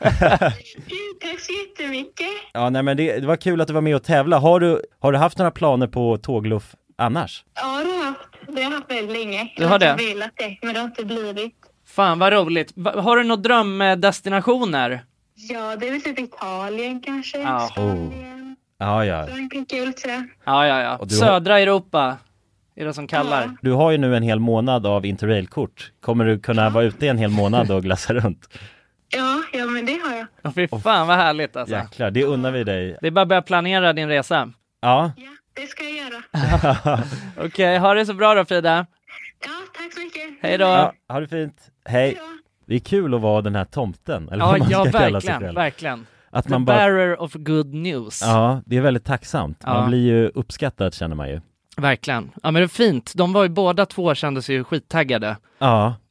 Tack så jättemycket. Ja, nej men det, det var kul att du var med och tävla. Har du, har du haft några planer på tågluff annars? Ja, det har jag haft. Det har jag haft väldigt länge. Du har det? Jag har velat det, men det har inte blivit. Fan vad roligt. Va- har du några drömdestinationer? Ja, det är väl typ Italien kanske. Ja. Oh. Ja, ja. Frankrike kul sådär. Ja, ja, ja. Och du har- Södra Europa är det som kallar. Du har ju nu en hel månad av interrailkort. Kommer du kunna vara ute en hel månad och glassa runt? Ja, ja, men det har jag. Åh, Fy fan vad härligt alltså. Jäklar, det unnar vi dig. Det är bara att börja planera din resa. Ja. Det ska jag göra. Okej, ha det så bra då Frida. Tack så mycket. Hej då. ja ha det fint. Hej. Det är kul att vara den här tomten, eller Ja, vad man ja ska kalla sig verkligen, själv. verkligen. Att The man bara- bearer of good news. Ja, det är väldigt tacksamt. Man Ja. blir ju uppskattad känner man ju. Verkligen. Ja men det är fint. De var ju båda två kändes ju skittaggade. Ja.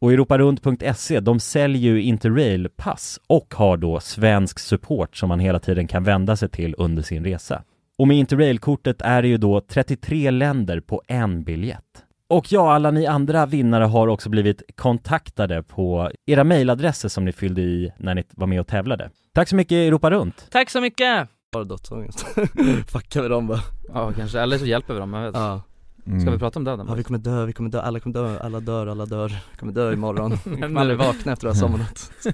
Och europarunt.se, E, de säljer ju Interrail-pass och har då svensk support som man hela tiden kan vända sig till under sin resa. Och med Interrail-kortet är det ju då 33 länder på en biljett. Och ja, alla ni andra vinnare har också blivit kontaktade på era mejladresser som ni fyllde i när ni var med och tävlade. Tack så mycket Europa Runt! Tack så mycket! Har dödsångest? [LAUGHS] Fuckar vi dem bara? Ja kanske, eller så hjälper vi dem, jag vet Ja Mm. Ska vi prata om döden? [LAUGHS] Ja vi kommer dö, vi kommer dö, alla kommer dö, alla dör, alla dör, kommer dö imorgon, vi Men kommer aldrig nu- vakna efter det här sommarnatt [LAUGHS]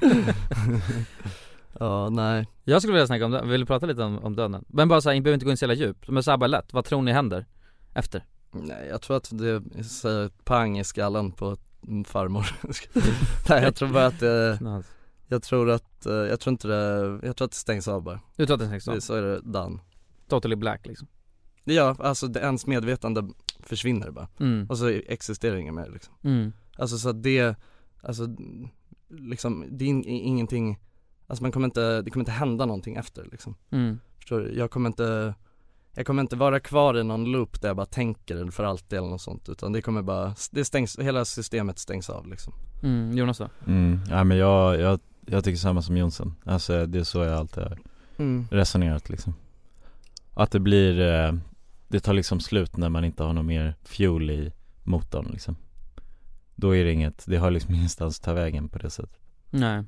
Ja nej, Jag skulle vilja snacka om döden, vill du prata lite om, om döden? Men bara såhär, ni behöver inte gå in så jävla djupt, men såhär bara lätt, vad tror ni händer? Efter? nej jag tror att det säger pang i skallen på farmor [LAUGHS] Nej jag tror bara att det, Nice. jag tror att, eh, jag tror inte det, jag tror att det stängs av bara Du tror att det stängs av? Det- Så är det done Totally black liksom Ja, alltså det, ens medvetande försvinner bara. Mm. Och så existerar inget mer liksom. Mm. Alltså så att det, alltså liksom, det är in, ingenting, alltså man kommer inte, det kommer inte hända någonting efter liksom. Mm. Förstår du? Jag kommer inte, jag kommer inte vara kvar i någon loop där jag bara tänker för alltid eller något sånt utan det kommer bara, det stängs, hela systemet stängs av liksom. Mm, Jonas då? Mm, ja men jag, jag Jag tycker samma som Jonsson, alltså det är så jag alltid har Mm. resonerat liksom Att det blir, eh, det tar liksom slut när man inte har någon mer fuel i motorn liksom Då är det inget, det har liksom [LAUGHS] ingenstans att ta vägen på det sättet Nej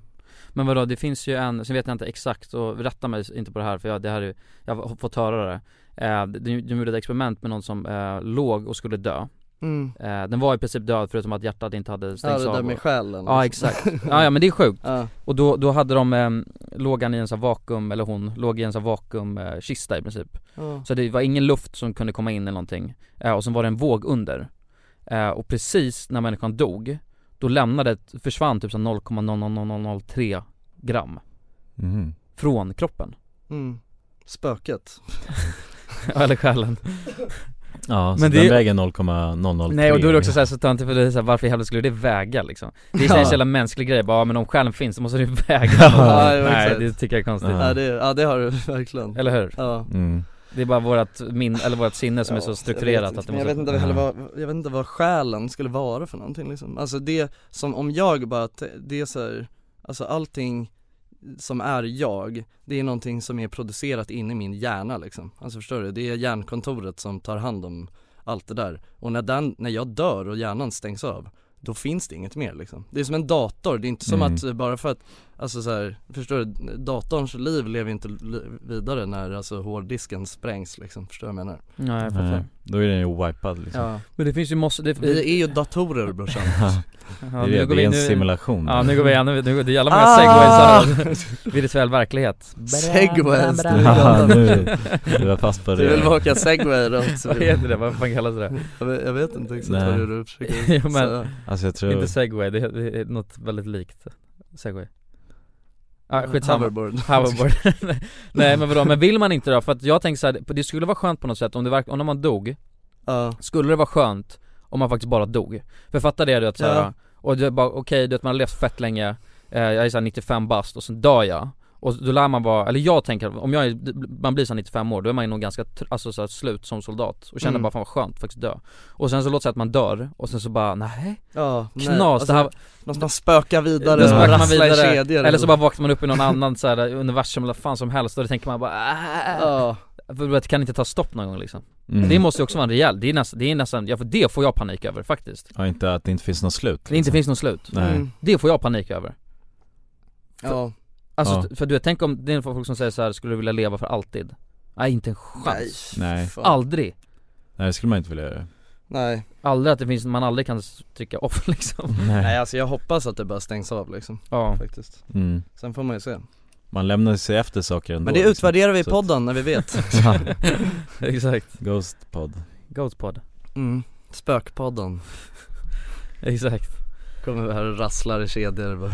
Men vadå, det finns ju en, sen vet jag inte exakt och rätta mig inte på det här för jag, det här är, jag har fått höra det eh, de, de gjorde ett experiment med någon som eh, låg och skulle dö Mm. eh, Den var i princip död förutom att hjärtat inte hade Ja stängts det av där med och- själen Ja [LAUGHS] exakt, ja, ja men det är sjukt Ja. Och då, då hade de, eh, låg han i en sån här vakuum, eller hon, låg i en sån här vakuumkista i princip Ja. Så det var ingen luft som kunde komma in eller någonting, eh, och sen var det en våg under eh, Och precis när människan dog, då lämnade, försvann typ så 0,00003 gram Mm. Mhm. Från kroppen, [LAUGHS] Mm. Spöket eller själen Ja, så Men det den är- väger 0,003 Nej och då är det också såhär så töntigt för det är såhär, varför i helvete skulle det väga liksom? Det är så här en Ja. jävla mänsklig grej, bara ja, men om själen finns så måste det ju [LAUGHS] väga Ja, jo, Nej exakt. det tycker jag är konstigt Ja det, ja, det har du [LAUGHS] verkligen Eller hur? Ja Det är bara vårat min, eller vårat sinne som är så strukturerat jag vet att inte, det men måste jag vet inte heller vad, jag vet inte vad själen skulle vara för någonting liksom. Alltså det som, om jag bara, t- det är så här, alltså allting som är jag, det är någonting som är producerat in i min hjärna liksom. Alltså förstår du? Det är hjärnkontoret som tar hand om allt det där. Och när den, när jag dör och hjärnan stängs av, då finns det inget mer liksom. Det är som en dator, det är inte som Mm. att eh, bara för att, alltså så här, förstår du? Datorns liv lever inte li- vidare när alltså hårddisken sprängs liksom, förstår du vad jag menar? Nej, jag Nej, Då är den ju wipad liksom Ja. Men det finns ju måste, det, Vi är ju [LAUGHS] datorer brorsan [LAUGHS] Ja. Ja, det, är nu det, går det vi- är en nu- simulation Ja nu går vi ännu, nu går det är jävla många Ah! segways här Virtuell verklighet Segways, det är Ja, jävla- nu, du var fast på det Du vill åka segway runt Vad heter det? Vad fan kallas det? Jag vet, jag vet inte exakt Nej. vad det är [LAUGHS] du försöker ja, men, säga Alltså jag tror- Inte segway, det är, det är något väldigt likt segway Ah, skitsamma. Hoverboard. Hoverboard. [LAUGHS] Nej men vadå, [LAUGHS] men vill man inte då? För att jag tänker så här, det skulle vara skönt på något sätt om det verk- om man dog Skulle det vara skönt om man faktiskt bara dog? För fatta det du vet såhär, Ja. och du bara okej du vet man har levt fett länge, eh, jag är såhär 95 bast och sen dör jag och då lär man vara, eller jag tänker, om jag är, man blir såhär 95 år, då är man ju nog ganska tr- alltså, så här, slut som soldat och känner Mm. bara fan vad skönt att faktiskt dö Och sen så låter det sig att man dör, och sen så bara nej Ja, nej. Knas, Alltså, det här måste man spöka vidare då spökar och man rassla i vidare, kedjor eller så bara vaknar man upp i någon annan så här, universum eller fan som helst och då tänker man bara "Ah." Ja. För du vet, det kan inte ta stopp någon gång liksom Mm. Det måste ju också vara en rejäl, det är nästan, det är nästan, ja för det får jag panik över faktiskt Ja inte att det inte finns något slut Det Liksom. inte finns något slut, Nej Mm. det får jag panik över Ja. Alltså, Ja. st- för du vet, tänk om det är folk som säger så här: skulle du vilja leva för alltid? Nej inte en chans Nej. Aldrig! Nej det skulle man inte vilja [LAUGHS] göra Nej Aldrig att det finns, man aldrig kan s- trycka off [LAUGHS] liksom Nej. Nej alltså jag hoppas att det bara stängs av liksom Ja Faktiskt Mm. Sen får man ju se Man lämnar sig efter saker ändå liksom. Men liksom. det utvärderar vi i Så- podden när vi vet [LAUGHS] Ja. Exakt Ghostpod Ghostpod mm. Spökpodden Exakt Kommer vi här och rasslar i kedjor bara.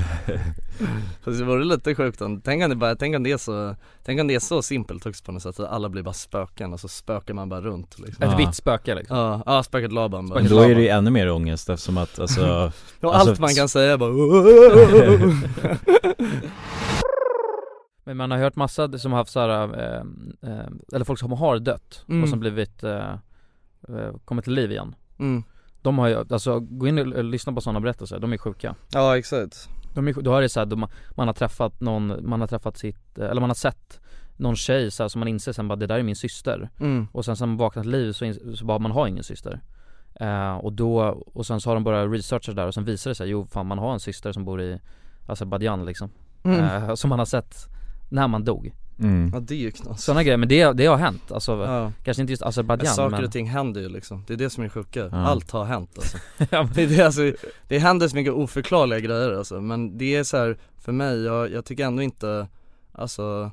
Fast det vore lite sjukt om, tänk om det bara, tänk om det är så, tänk om det är så simpelt också på något sätt att alla blir bara spöken och så spökar man bara runt liksom. Ett Ja. vitt spöke liksom Ja, ja spöket Laban bara. Men då är det ju ännu mer ångest eftersom [LAUGHS] att alltså, Och alltså allt man kan säga är bara Men man har hört massa som har haft såhär, eh, eh, eller folk som har dött Mm. och som blivit, eh, eh, kommit till liv igen [LAUGHS] Mm. De har ju, alltså gå in och, och lyssna på sådana berättelser, de är sjuka Ja exakt de är, sj- Då är det såhär, de, man har träffat någon, man har träffat sitt, eh, eller man har sett någon tjej så här, som man inser sen bara det där är min syster Mm. Och sen sen man vaknat till liv så, in, så bara man har ingen syster eh, Och då, och sen så har de börjat researcha det där och sen visar det sig, jo fan man har en syster som bor i Azerbajdzjan liksom Mm. eh, Som man har sett när man dog Mm. Ja det är ju knas Sådana grejer, men det, det har hänt alltså, alltså. Ja. kanske inte just Men Azerbajdzjan saker men och ting händer ju liksom, det är det som är sjuka, allt har hänt alltså. [LAUGHS] Ja, det, är det, alltså det händer så mycket oförklarliga grejer alltså, men det är så här för mig, jag, jag tycker ändå inte, alltså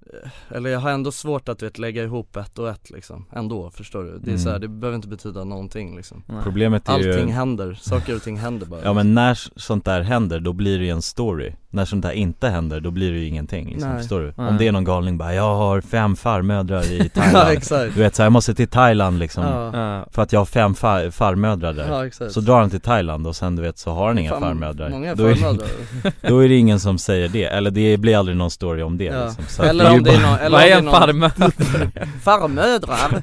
eh, eller jag har ändå svårt att du vet, lägga ihop ett och ett liksom, ändå förstår du? Det är Mm. så här, det behöver inte betyda någonting liksom Problemet är Allting ju- händer, saker och ting händer bara Ja men när s- sånt där händer då blir det ju en story När sånt där inte händer då blir det ju ingenting liksom, Nej. förstår du? Nej. Om det är någon galning bara 'Jag har fem [LAUGHS] farmödrar i [LAUGHS] Ja, Thailand' exakt. Du vet så här, jag måste till Thailand liksom Ja. Eh, För att jag har fem far- farmödrar där Ja, exakt. Så drar han till Thailand och sen du vet så har han inga Fan, farmödrar många då, är, farmödrar. [LAUGHS] då är det ingen som säger det, eller det blir aldrig någon story om det liksom. Så att Eller är ju om det är bara- någon, eller om det är någon- [LAUGHS] Farmödrar!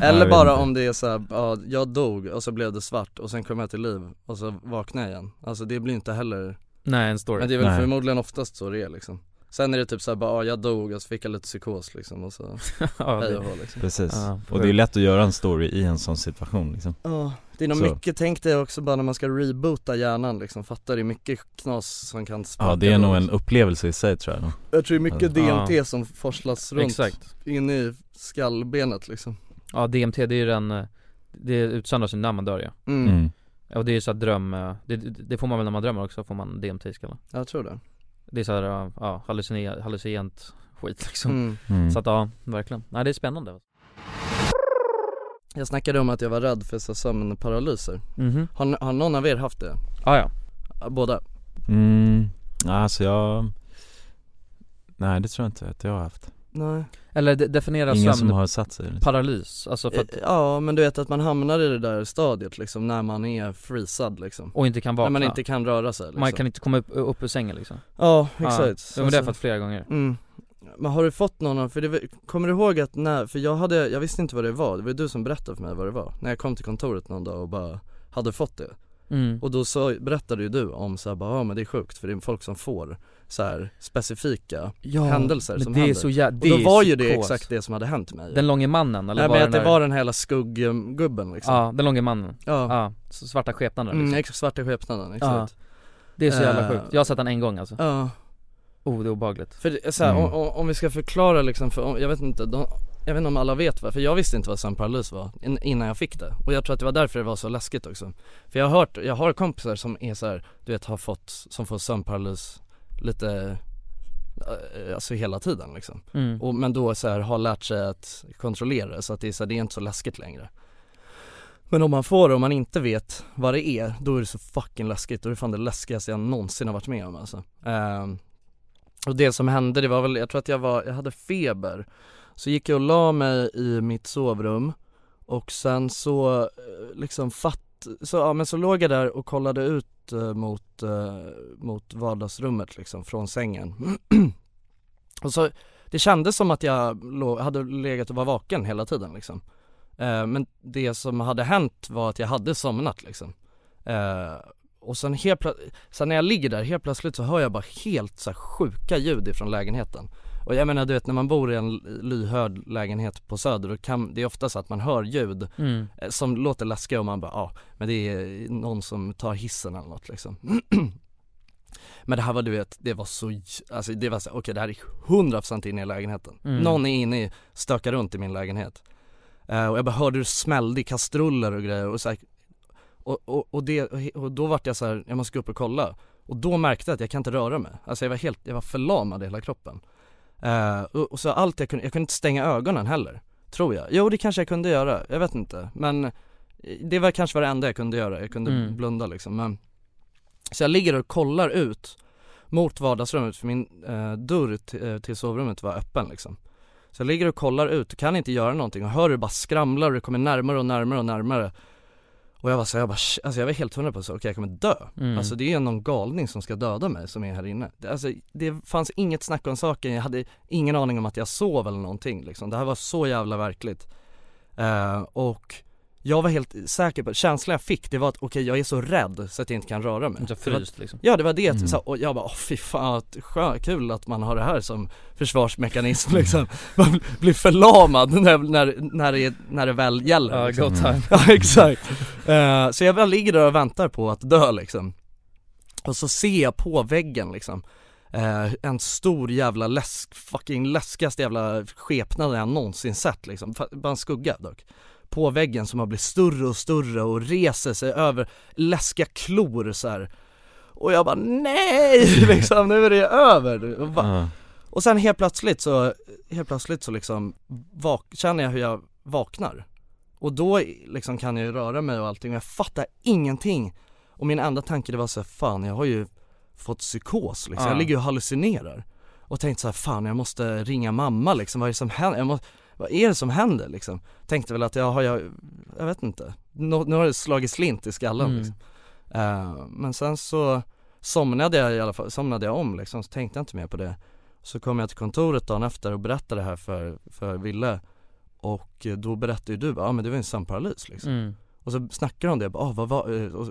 jag Eller vet bara inte. om det är såhär, ja, jag dog och så blev det svart och sen kom jag till liv och så vaknade jag igen Alltså det blir inte heller Nej, en story. [LAUGHS] Men det är väl Nej. förmodligen oftast så det är liksom Sen är det typ såhär bara, ah, jag dog och så fick jag lite psykos liksom och så, Ja, hej det- och hå, liksom. Precis, Ja, och det är lätt att göra en story i en sån situation liksom Ja, det är nog Så. mycket, tänk dig också bara när man ska reboota hjärnan liksom, fattar du mycket knas som kan sparka Ja det är nog runt. en upplevelse i sig tror jag nog. Jag tror det är mycket Ja. DMT som forslas runt Exakt. in i skallbenet liksom Ja DMT det är ju den, eh, det utsöndras ju när man dör ja Mm. Mm. Ja, Och det är ju såhär dröm, eh, det, det får man väl när man drömmer också, får man DMT i skallen Jag tror det Det är såhär, ja, ja hallucine- hallucinogent skit liksom Mm. Mm. Så att ja, verkligen, nej det är spännande Jag snackade om att jag var rädd för så här sömnparalyser Mhm. har, n- har någon av er haft det? Ah, ja Båda? Mm, alltså jag Nej det tror jag inte att jag har haft Nej Eller de- definiera Ingen sömn som har satt sig liksom. Paralys, alltså för att, Eh, Ja men du vet att man hamnar i det där stadiet liksom när man är freezad liksom och inte kan vakna När man inte kan röra sig liksom Man kan inte komma upp, upp ur sängen liksom Ja, exakt. Alltså- Ja, men det har jag fått flera gånger mm. Men har du fått någon av, för det, var- kommer du ihåg att när, för jag hade, jag visste inte vad det var, det var ju du som berättade för mig vad det var När jag kom till kontoret någon dag och bara hade fått det Mm. Och då så berättade ju du om så här, bara, ja men det är sjukt för det är folk som får så här specifika Ja, händelser men som det är händer så jä- det Och är då var ju det psykos. exakt det som hade hänt mig Den långe mannen eller Nej, var men att den det där- var den här hela skugggubben liksom Ja, den långa mannen Ja, så svarta skepnaden Mm, liksom. ex- svarta skepnaden, exakt Det är så jävla Eh, sjukt, jag har sett den en gång alltså Ja Oh det är obehagligt För det, så här, om- om, om vi ska förklara liksom, för om, jag vet inte, de, jag vet inte om alla vet vad, för jag visste inte vad sömnparalys var in, innan jag fick det. Och jag tror att det var därför det var så läskigt också. För jag har hört, jag har kompisar som är så här, du vet har fått, som får sömnparalys lite, eh, alltså hela tiden liksom. Mm. Och, men då så här, har lärt sig att kontrollera det, så att det är, så här, det är inte så läskigt längre. Men om man får det och man inte vet vad det är, då är det så fucking läskigt och det är fan det läskigaste jag någonsin har varit med om alltså. Ehm, och det som hände det var väl, jag tror att jag var, jag hade feber Så gick jag och la mig i mitt sovrum och sen så eh, liksom fatt, så ja men så låg jag där och kollade ut eh, mot, eh, mot vardagsrummet liksom från sängen [CLEARS THROAT] Och så, det kändes som att jag lå- hade legat och var vaken hela tiden liksom Eh, Men det som hade hänt var att jag hade somnat liksom Eh, och sen helt plötsligt, sen när jag ligger där helt plötsligt så hör jag bara helt så här sjuka ljud ifrån lägenheten Och jag menar du vet när man bor i en lyhörd lägenhet på söder då kan, det är ofta så att man hör ljud Mm. eh, som låter läskiga och man bara ja, ah, men det är någon som tar hissen eller något liksom [CLEARS THROAT] Men det här var du vet, det var så, j- alltså det var så okej det här är 100% inne i lägenheten Mm. Någon är inne, i- stökar runt i min lägenhet Eh, Och jag bara hörde hur det smällde i kastruller och grejer och så här, och, och, och, det, och då vart jag så här, jag måste gå upp och kolla Och då märkte jag att jag kan inte röra mig, alltså jag var helt, jag var förlamad i hela kroppen Eh, och, och så allt jag kunde, jag kunde inte stänga ögonen heller, tror jag Jo det kanske jag kunde göra, jag vet inte, men eh, det var kanske var det enda jag kunde göra, jag kunde Mm. blunda liksom men Så jag ligger och kollar ut mot vardagsrummet för min eh, dörr t- eh, till sovrummet var öppen liksom Så jag ligger och kollar ut och kan inte göra någonting och hör hur det bara skramlar och det kommer närmare och närmare och närmare och jag var så här, jag bara, "Shh." alltså jag var helt hundra på så, okej jag kommer dö. Mm. Alltså det är någon galning som ska döda mig som är här inne. Det- Alltså det fanns inget snack om saken, jag hade ingen aning om att jag sov eller någonting liksom. Det här var så jävla verkligt. Eh, och jag var helt säker på, känslan jag fick det var att okej jag är så rädd så att jag inte kan röra mig. Så Det var- fryst, liksom. Ja det var det, så, och jag bara åh fy fan vad skö- kul att man har det här som försvarsmekanism [LAUGHS] liksom. Man bl- blir förlamad när, när, när, det, när det väl gäller. Ja, liksom. go time. [LAUGHS] Ja exakt. Eh, så jag väl ligger där och väntar på att dö liksom. Och så ser jag på väggen liksom eh, en stor jävla läsk, fucking läskigaste jävla skepnad jag någonsin sett liksom, Fa- bara en skugga dock på väggen som har blivit större och större och reser sig över läskiga klor så här. Och jag bara nej [LAUGHS] liksom, nu är det över! Och, bara, och sen helt plötsligt så, helt plötsligt så liksom vak- känner jag hur jag vaknar Och då liksom kan jag ju röra mig och allting och jag fattar ingenting Och min enda tanke det var så här, fan jag har ju fått psykos liksom, jag Ja. ligger ju och hallucinerar Och tänkte så här, fan jag måste ringa mamma liksom, vad är det som händer? Jag må- vad är det som händer liksom? Tänkte väl att jag har, jag, jag vet inte, Nå, nu har det slagit slint i skallen Mm. liksom. Eh, Men sen så somnade jag i alla fall, somnade jag om liksom, så tänkte jag inte mer på det Så kom jag till kontoret dagen efter och berättade det här för, för Ville Och eh, då berättade ju du, ja ah, men det var ju en sömnparalys liksom Mm. Och så snackade de om det, bara, ah, vad var, eh, och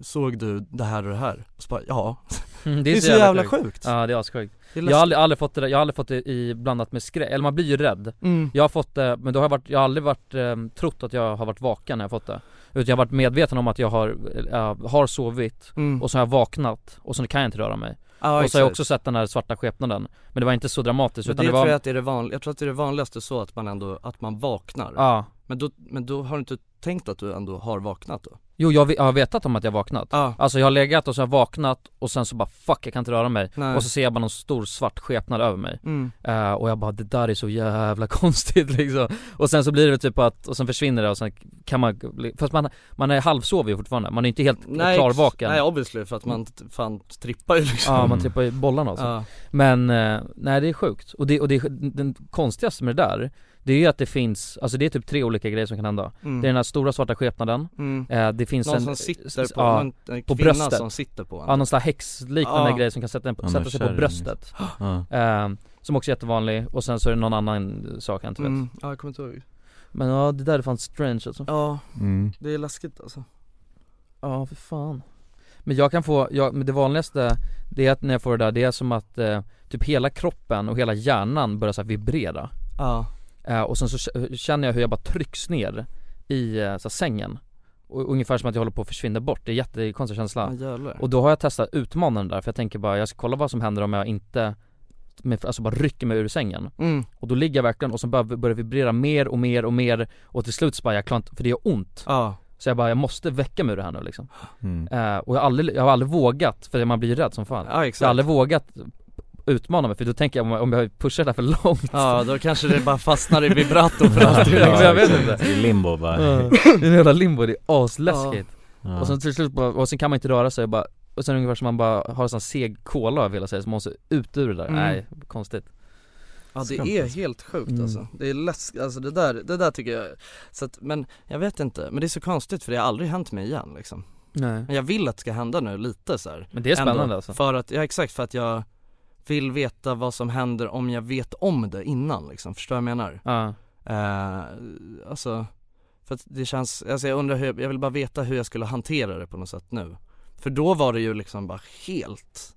såg du det här och det här? Och så bara, ja Mm, Det är så jävla sjukt Ja det är assjukt Det är Jag har aldrig, aldrig fått det där, jag har aldrig fått det i blandat med skräck, eller man blir ju rädd Mm. Jag har fått det, men då har jag varit, jag har aldrig varit, eh, trott att jag har varit vaken när jag fått det Utan jag har varit medveten om att jag har, eh, har sovit, Mm. och så har jag vaknat, och så kan jag inte röra mig Ja, Och så har jag exakt. också sett den här svarta skepnaden Men det var inte så dramatiskt Men utan det, det, var tror jag att det är det vanliga, jag tror att det är det vanligaste så att man ändå, att man vaknar Ja. Men då, men då har du inte tänkt att du ändå har vaknat då? Jo jag, ve- jag har vetat om att jag vaknat Alltså jag har legat och så har jag vaknat och sen så bara fuck jag kan inte röra mig Nej. Och så ser jag bara någon stor svart skepnad över mig Mm. Eh, Och jag bara det där är så jävla [LAUGHS] konstigt liksom Och sen så blir det typ att, och sen försvinner det och sen kan man Fast man, man är halvsovig fortfarande, man är inte helt klarvaken Nej obviously för att man t- fan trippar ju liksom Ja man trippar ju bollarna alltså. Ja. Men, eh, nej det är sjukt. Och det, och det den konstigaste med det där, det är ju att det finns, alltså det är typ tre olika grejer som kan hända. Mm. Det är den här stora svarta skepnaden, Mm. eh, det finns Någon en som sitter på- någon- en på kvinna bröstet. som sitter på en. Ja någon sån här häxliknande Ja. grej som kan sätta, den på, Ja, sätta men sig på kärring. bröstet. Ja. Eh, som också är jättevanlig, och sen så är det någon annan sak jag inte vet. mm. Ja jag kommer inte ihåg Men ja det där är fan strange alltså. Ja, Mm. det är läskigt alltså Ja för fan Men jag kan få, jag, men det vanligaste Det är att när jag får det där, det är som att eh, typ hela kroppen och hela hjärnan börjar så här vibrera Ja. eh, Och sen så k- känner jag hur jag bara trycks ner i eh, så här, sängen och, Ungefär som att jag håller på att försvinna bort, det är en jättekonstig känsla Ja, jävlar. Och då har jag testat utmana den där för jag tänker bara, jag ska kolla vad som händer om jag inte med, alltså bara rycker mig ur sängen Mm. Och då ligger jag verkligen och så börjar, börjar vibrera mer och mer och mer Och till slut så bara, jag klarar inte, för det gör ont Ja. Så jag bara, jag måste väcka mig ur det här nu liksom Mm. Eh, och jag har, aldrig, jag har aldrig vågat, för man blir ju rädd som fan Ja, exakt. Jag har aldrig vågat utmana mig för då tänker jag om jag- om jag pushar det här för långt Ja, då kanske det bara fastnar i [LAUGHS] vibrato för [LAUGHS] alltid. Ja, Jag vet exakt. inte I limbo bara. Ja, [LAUGHS] Det är en jävla limbo, det är asläskigt Ja. Och sen till slut bara, och sen kan man inte röra sig och bara Och sen ungefär som man bara har en sån seg kola över hela sig så man måste ut ur det där, Mm. nej konstigt Ja det Skumt, är alltså. helt sjukt Mm. alltså, det är läskigt, alltså det där, det där tycker jag, så att, men jag vet inte, men det är så konstigt för det har aldrig hänt mig igen liksom Nej. Men jag vill att det ska hända nu lite så här. Men det är Ändå. spännande, alltså. För att, ja exakt, för att jag vill veta vad som händer om jag vet om det innan liksom, förstår du vad jag menar? Ja. Eh, alltså, för att det känns, alltså jag undrar hur, jag jag vill bara veta hur jag skulle hantera det på något sätt nu För då var det ju liksom bara helt,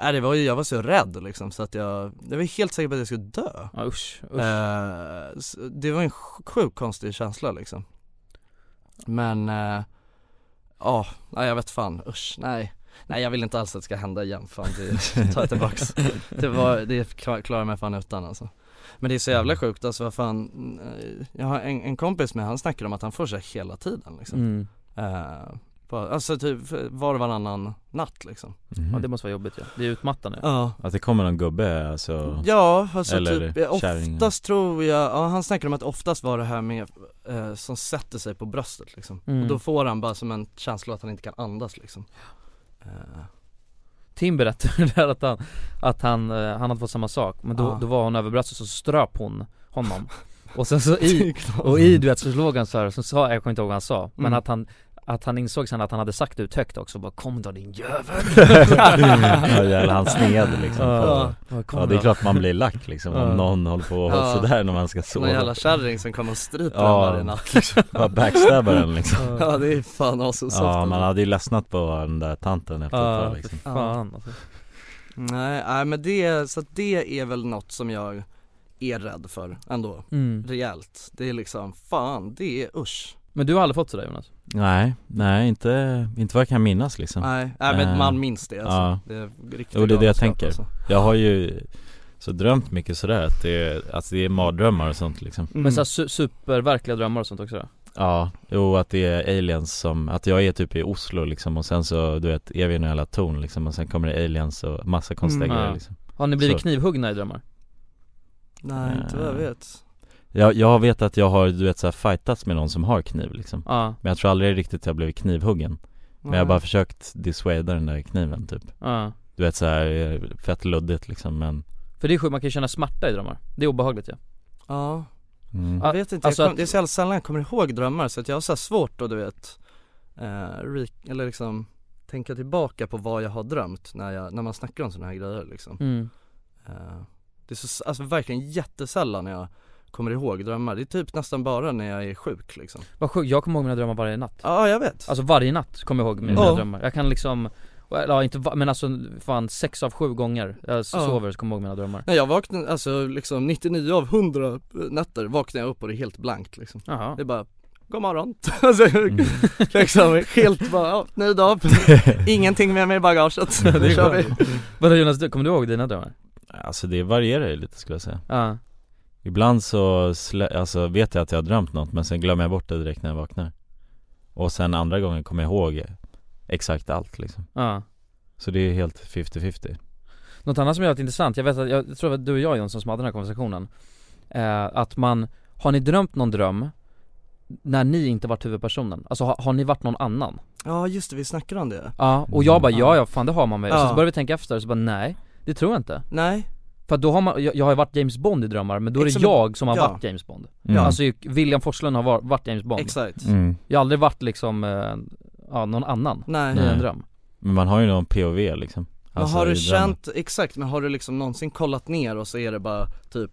nej det var ju, jag var så rädd liksom så att jag, jag var helt säker på att jag skulle dö ja, usch, usch. Eh, så Det var en sj- sjukt konstig känsla liksom Men, eh, ja, nej jag vet fan, usch, nej Nej jag vill inte alls att det ska hända igen, fan det tar [LAUGHS] jag tillbaks Det var, det kla- klarar jag mig fan utan alltså Men det är så jävla Mm. sjukt alltså vad fan eh, Jag har en, en kompis med, han snackar om att han får sig hela tiden liksom Mm. Eh, bara, Alltså typ var och varannan natt liksom Ja det måste vara jobbigt ja, det är utmattande Ja. Mm. Att det kommer någon gubbe alltså Ja, alltså Eller typ, eh, kärring. oftast tror jag, ja, han snackade om att oftast var det här med, eh, som sätter sig på bröstet liksom. Mm. Och då får han bara som en känsla att han inte kan andas liksom. Eh, Tim berättade [LAUGHS] det där att han, att han, eh, han hade fått samma sak, men då, Ah. då var hon över bröstet så ströp hon honom Och sen så [LAUGHS] Det är i, klart. och i du vet så slog han så här, så sa, jag kommer inte ihåg vad han sa, men Mm. att han att han insåg sen att han hade sagt det ut högt också, bara 'Kom då din jävel' Ja jävlar han sneade liksom Ja, ja. Bara, "Kom ja det är då." klart man blir lack liksom [LAUGHS] Ja. om någon håller på och håller Ja. sådär när man ska sova Någon jävla kärring som kommer och stryper Ja. en varje natt liksom. [LAUGHS] Bara backstabbar en, [LAUGHS] liksom. Ja det är fan alltså asosofft Ja man hade ju ledsnat på den där tanten efter ett tag liksom fan, alltså. Nej, nej men det, så att det är väl något som jag är rädd för ändå, Mm. rejält Det är liksom, fan det är usch Men du har aldrig fått sådär Jonas? Nej, nej inte, inte vad jag kan minnas liksom Nej, nej, men Eh, man minns det, alltså. Det är riktigt Jo det är det jag galenskap, tänker alltså. Jag har ju så drömt mycket sådär att det är, alltså det är mardrömmar och sånt liksom Men såhär su- superverkliga drömmar och sånt också då? Ja, jo att det är aliens som, att jag är typ i Oslo liksom och sen så du vet, är vi i någon jävla torn liksom och sen kommer det aliens och massa konstiga Mm. grejer Ja. liksom Har ni blivit så, knivhuggna i drömmar? Nej inte vad jag Eh. vet jag, jag vet att jag har, du vet såhär fightats med någon som har kniv liksom Ja. Men jag tror aldrig riktigt jag blev knivhuggen Men jag Nej. har bara försökt dissuada den där kniven typ Ja. Du vet såhär, fett luddigt liksom men För det är sjukt, man kan ju känna smärta i drömmar, det är obehagligt ju ja. Ja Mm. Jag vet inte, Alltså jag kom, att- det är så jävla sällan jag kommer ihåg drömmar så att jag har så här svårt att du vet eh, re- Eller liksom tänka tillbaka på vad jag har drömt när, jag, när man snackar om sådana här grejer liksom Mm. eh, Det är så, alltså verkligen jättesällan jag kommer ihåg drömmar. Det är typ nästan bara när jag är sjuk liksom. Vad sjukt, jag kommer ihåg mina drömmar varje natt Ja jag vet Alltså varje natt kommer jag ihåg mina Ja. drömmar Jag kan liksom, ja inte va- men alltså fan sex av sju gånger jag sover så kommer jag ihåg mina drömmar När jag vaknade, alltså liksom 99 av 100 nätter vaknar jag upp och det är helt blankt liksom. Jaha. Det är bara, god morgon. [LAUGHS] alltså, Mm. liksom helt bara, ja, ny dag, ingenting med mig i bagaget. Nu kör vi. Vadå Jonas, du- kommer du ihåg dina drömmar? [LAUGHS] Alltså det varierar ju lite skulle jag säga Ja. Ibland så, slä, alltså vet jag att jag har drömt något men sen glömmer jag bort det direkt när jag vaknar Och sen andra gången kommer jag ihåg exakt allt liksom Ja. Så det är helt 50-50 Något annat som är väldigt intressant, jag vet att, jag tror att du och jag Jonsson som hade den här konversationen eh, Att man, har ni drömt någon dröm när ni inte varit huvudpersonen? Alltså har, har ni varit någon annan? Ja just det, vi snackade om det. Ja, och Mm. jag bara ja ja, fan det har man väl? Ja. Så, så börjar vi tänka efter, så bara nej, det tror jag inte Nej För att då har man, jag, jag har ju varit James Bond i drömmar, men då är det Exakt. jag som har Ja. varit James Bond Ja. Alltså ju- William Forslund har var- varit James Bond Exakt. Mm. Jag har aldrig varit liksom, eh, ja, någon annan Nej. i en Nej. dröm Men man har ju någon POV liksom Men Alltså, har i du drömmen. känt, exakt, men har du liksom någonsin kollat ner och så är det bara typ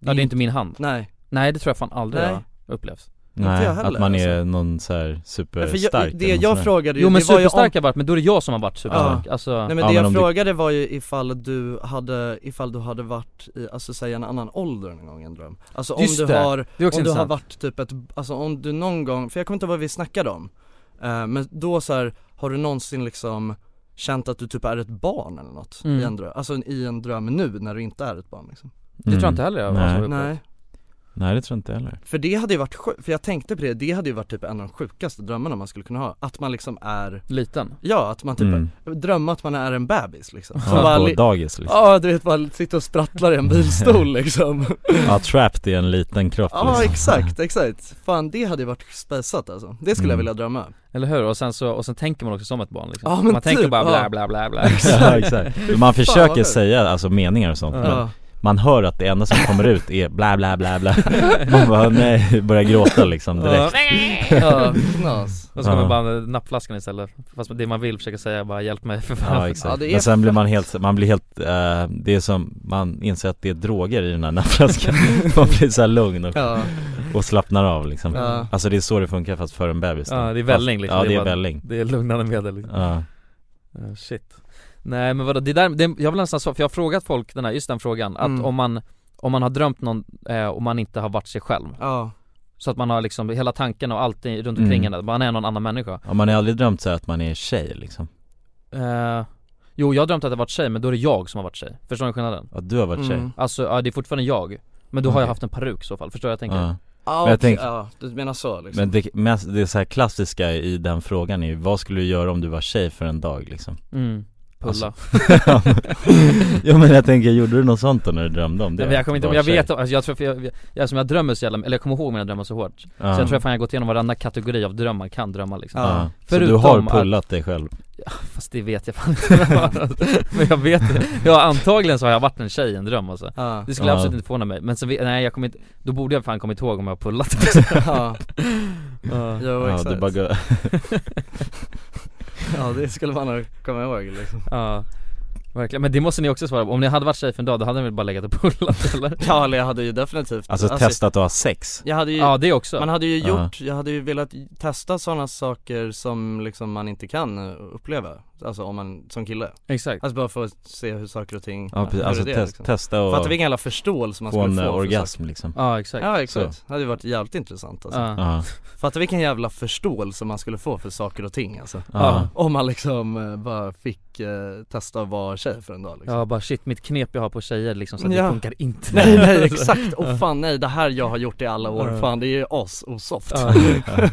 Ja det är inte min hand Nej Nej det tror jag fan aldrig Nej. jag har upplevt Inte Nej, jag heller, att man är någon så här superstark Ja, för jag, Eh, eller det något sånt jag där. frågade ju, Jo men det var ju superstark har jag varit, men då är det jag som har varit superstark, Ja. alltså Nej men det jag frågade var ju ifall du hade, ifall du hade varit i, alltså säg en annan ålder någon gång i en dröm Alltså om Just du det. har, Det är också om du har intressant. varit typ ett, alltså om du någon gång, för jag kommer inte ihåg vad vi snackade om Eh, Men då så här, har du någonsin liksom känt att du typ är ett barn eller något Mm. i en dröm? Alltså i en dröm nu när du inte är ett barn liksom Det tror jag inte heller jag har Mm. Nej. varit Nej, Nej det tror jag inte heller för det hade ju varit sjukt, för jag tänkte på det, det hade ju varit typ en av de sjukaste drömmarna man skulle kunna ha, att man liksom är Liten? Ja, att man typ Mm. drömma att man är en bebis liksom Ja, Som bara på li- dagis, liksom. Ja du vet bara sitta och sprattlar i [LAUGHS] en bilstol liksom Ja, trapped i en liten kropp Ja liksom. exakt, exakt. Fan det hade ju varit spesat alltså, det skulle jag Mm. vilja drömma Eller hur? Och sen så, och sen tänker man också som ett barn liksom. Ja, men Man tänker typ, bara ja. bla bla bla bla [LAUGHS] liksom. Ja, exakt. Man Fan, vad försöker sjukt. säga alltså meningar och sånt Ja. men man hör att det enda som kommer ut är bla bla bla bla Man [LAUGHS] bara nej, börjar gråta liksom direkt Ja, knas. Och så kommer Ja. bara med nappflaskan istället, fast det man vill försöka säga bara hjälp mig för fan Ja exakt, men sen blir man helt, man blir helt, eh, det är som, man inser att det är droger i den här nappflaskan [LAUGHS] Man blir så här lugn och, Ja. och slappnar av liksom Ja. Alltså det är så det funkar fast för en bebis Ja det är välling liksom, Ja det är bara- välling [LAUGHS] Det är lugnande medel liksom. Ja. Ja, Shit Nej men vadå, det där, det, jag vill nästan svara, för jag har frågat folk den här, just den frågan, att Mm. om man Om man har drömt någon eh, och man inte har varit sig själv Ja. Så att man har liksom hela tanken och allt i- runt Mm. omkring en, att man är någon annan människa ja, man har aldrig drömt så här att man är tjej liksom eh, Jo jag har drömt att jag varit tjej men då är det jag som har varit tjej, förstår ni skillnaden? Ja du har varit tjej. Mm. Alltså ja, det är fortfarande jag Men då har jag Okej. haft en peruk i så fall, förstår jag vad jag tänker? Ja. Ja, Men jag okej, tänk- ja du menar så liksom Men det, mest, det så här klassiska i den frågan är ju, vad skulle du göra om du var tjej för en dag liksom? [LAUGHS] Mm, pulla ja men jag tänker, gjorde du något sånt då när du drömde om det? Nej, men jag kommer inte, men Var jag tjej? vet, alltså, jag tror, för jag, jag, alltså, jag drömmer så jävla, eller jag kommer ihåg mina drömmar så hårt Ja. Så jag tror fan jag har gått igenom varenda kategori av drömmar, kan drömma liksom Ja. Så du har pullat dig själv? Ja, fast det vet jag fan inte [LAUGHS] Men jag vet det. ja antagligen så har jag varit en tjej i en dröm alltså. Ja. [LAUGHS] Det skulle Ja. absolut inte förvåna mig, men så, vet- nej jag kommer inte, då borde jag fan kommit ihåg om jag har pullat Ja. Ja. Jo, Ja, exakt. du bara går- Ja det skulle man ha kommit ihåg liksom Ja, verkligen. Men det måste ni också svara på, om ni hade varit tjej för en dag då hade ni väl bara legat och pullat [LAUGHS] eller? Ja eller jag hade ju definitivt Alltså, testat att ha sex? Jag hade ju, Ja, det också. Man hade ju Ja. gjort, jag hade ju velat testa sådana saker som liksom man inte kan eh, uppleva Alltså om man, som kille Exakt Alltså bara för att se hur saker och ting, Ja, precis. hur Alltså, det är, test- testa och Fattar vilken jävla förståelse man få skulle en, eh, få för orgasm, saker. liksom. Ja, exakt. Ja exakt, det hade ju varit jävligt intressant alltså. Ja. Ja. Fattar vilken jävla förståelse man skulle få för saker och ting alltså Ja. Om man liksom eh, bara fick eh, testa att vara tjej för en dag liksom. Ja bara shit, mitt knep jag har på tjejer liksom så att det Ja. funkar inte [LAUGHS] Nej nej [LAUGHS] exakt, och fan nej det här jag har gjort i alla år, Ja. fan det är ju asosoft [LAUGHS] Ja.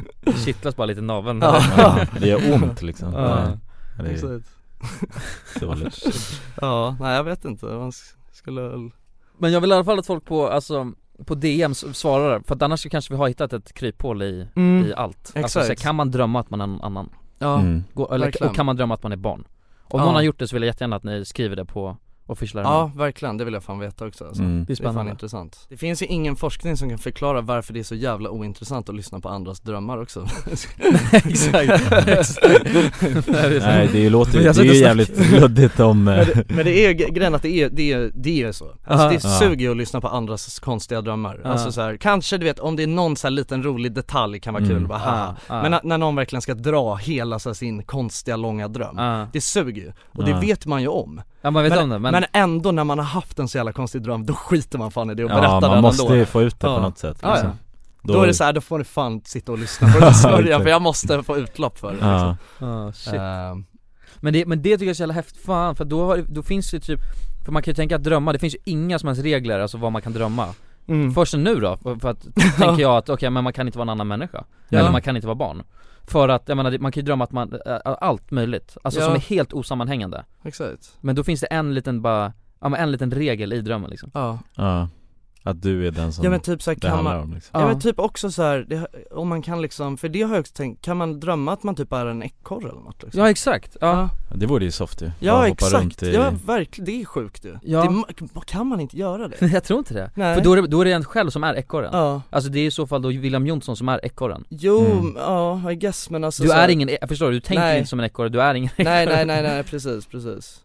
[LAUGHS] Kittlas bara lite i naveln Ja. Ja, det gör ont, liksom. ja. Ja, det är- Exakt. Dåligt. Ja, nej jag vet inte, man s- skulle väl Men jag vill i alla fall att folk på, alltså, på DM s- svarar, för att annars så kanske vi har hittat ett kryphål i, Mm. i allt Alltså Exakt. så här, kan man drömma att man är någon annan? Ja, Mm. Gå, eller, verkligen. och kan man drömma att man är barn? Om Ja. någon har gjort det så vill jag jättegärna att ni skriver det på och fischlar Ja verkligen, det vill jag fan veta också alltså. Mm. Det är spännande. Det är [LAUGHS] fan intressant Det finns ju ingen forskning som kan förklara varför det är så jävla ointressant att lyssna på andras drömmar också [LAUGHS] Nej det låter ju, det är ju jävligt luddigt om eh, men, det, men det är ju grejen att det är, det är, det är så alltså, Aha. Det Ja. suger ju att lyssna på andras konstiga drömmar Ja. Alltså så här, kanske du vet om det är någon så här liten rolig detalj kan vara kul, Mm. bara, haha. Ja, ja. Men att, när någon verkligen ska dra hela så här, sin konstiga långa dröm Ja. Det suger ju, och det Ja. vet man ju om Ja, man vet men, om det, men- ändå när man har haft en så jävla konstig dröm, då skiter man fan i det och Ja, berättar man den ändå måste ju få ut det på något sätt, ja, liksom. ja. Då, Då- är det så här, då får ni fan sitta och lyssna på [LAUGHS] det och sörja för jag måste få utlopp för det Ja. liksom. Ja, shit. Ehm, Men det, men det tycker jag är så jävla häftigt, fan för då, har, då finns det typ För man kan ju tänka att drömma, det finns ju inga som helst regler alltså vad man kan drömma Mm. Först nu då, för- för att [LAUGHS] tänker jag att okej men man kan inte vara en annan människa Ja. Eller man kan inte vara barn För att, jag menar det- man kan ju drömma att man, ä, ä, allt möjligt, alltså Ja. som är helt osammanhängande Exakt. Men då finns det en liten bara, ja men en liten regel i drömmen liksom Ja Ja, att du är den som Ja men typ såhär det kan handlar man, om liksom. ja men typ också såhär, det- om man kan liksom, för det har jag också tänkt, kan man drömma att man typ är en ekorre eller något liksom? Ja exakt, ja Det vore ju soft ju, Bara Ja hoppa exakt, runt i... ja verkligen, det är sjukt ju. Ja. Det, ma- kan man inte göra det? Nej [LAUGHS] jag tror inte det, Nej. för då är, det, då är det en själv som är ekorren Ja. Alltså det är i så fall då William Jonsson som är ekorren Jo, Mm. ja I guess men alltså Du så här- är ingen, jag förstår du, du tänker Nej. inte som en ekorre, du är ingen Nej nej nej nej precis, precis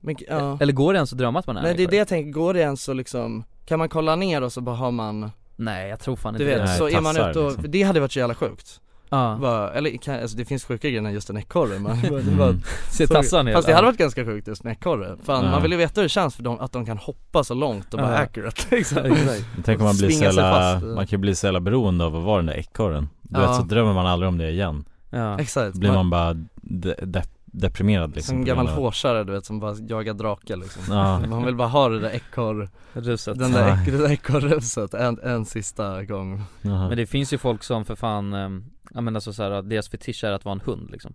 men, ja. [LAUGHS] Eller går det ens att drömma att man är Nej en det är det jag tänker, går det ens så liksom, kan man kolla ner och så bara har man Nej jag tror fan Du inte vet, det så är man ute och, liksom. det hade varit så jävla sjukt Ja. [LAUGHS] bara, eller kan, alltså det finns sjuka grejer än just en ekorre man [LAUGHS] Mm. bara, Se tassarna i Fast det alla. hade varit ganska sjukt just en ekorre, fan Ja. man vill ju veta hur det känns för dem, att de kan hoppa så långt och bara Ja. accurate [LAUGHS] liksom. Tänk om man blir så Svinga jävla, sig fast. eh. man kan ju bli så jävla beroende av att vara den där ekorren Du Ja. vet så drömmer man aldrig om det igen Ja. Exakt. Blir Man- man bara de, de, deprimerad liksom Som en på gammal grund av- hårsare du vet som bara jagar drakar liksom Ja. [LAUGHS] Man vill bara ha det där ekorr Ruset. Den där, Ja. ek, det där ekorrruset en, en sista gång Men det finns ju folk som för fan, ehm, ja men alltså så här, att deras fetisch är att vara en hund liksom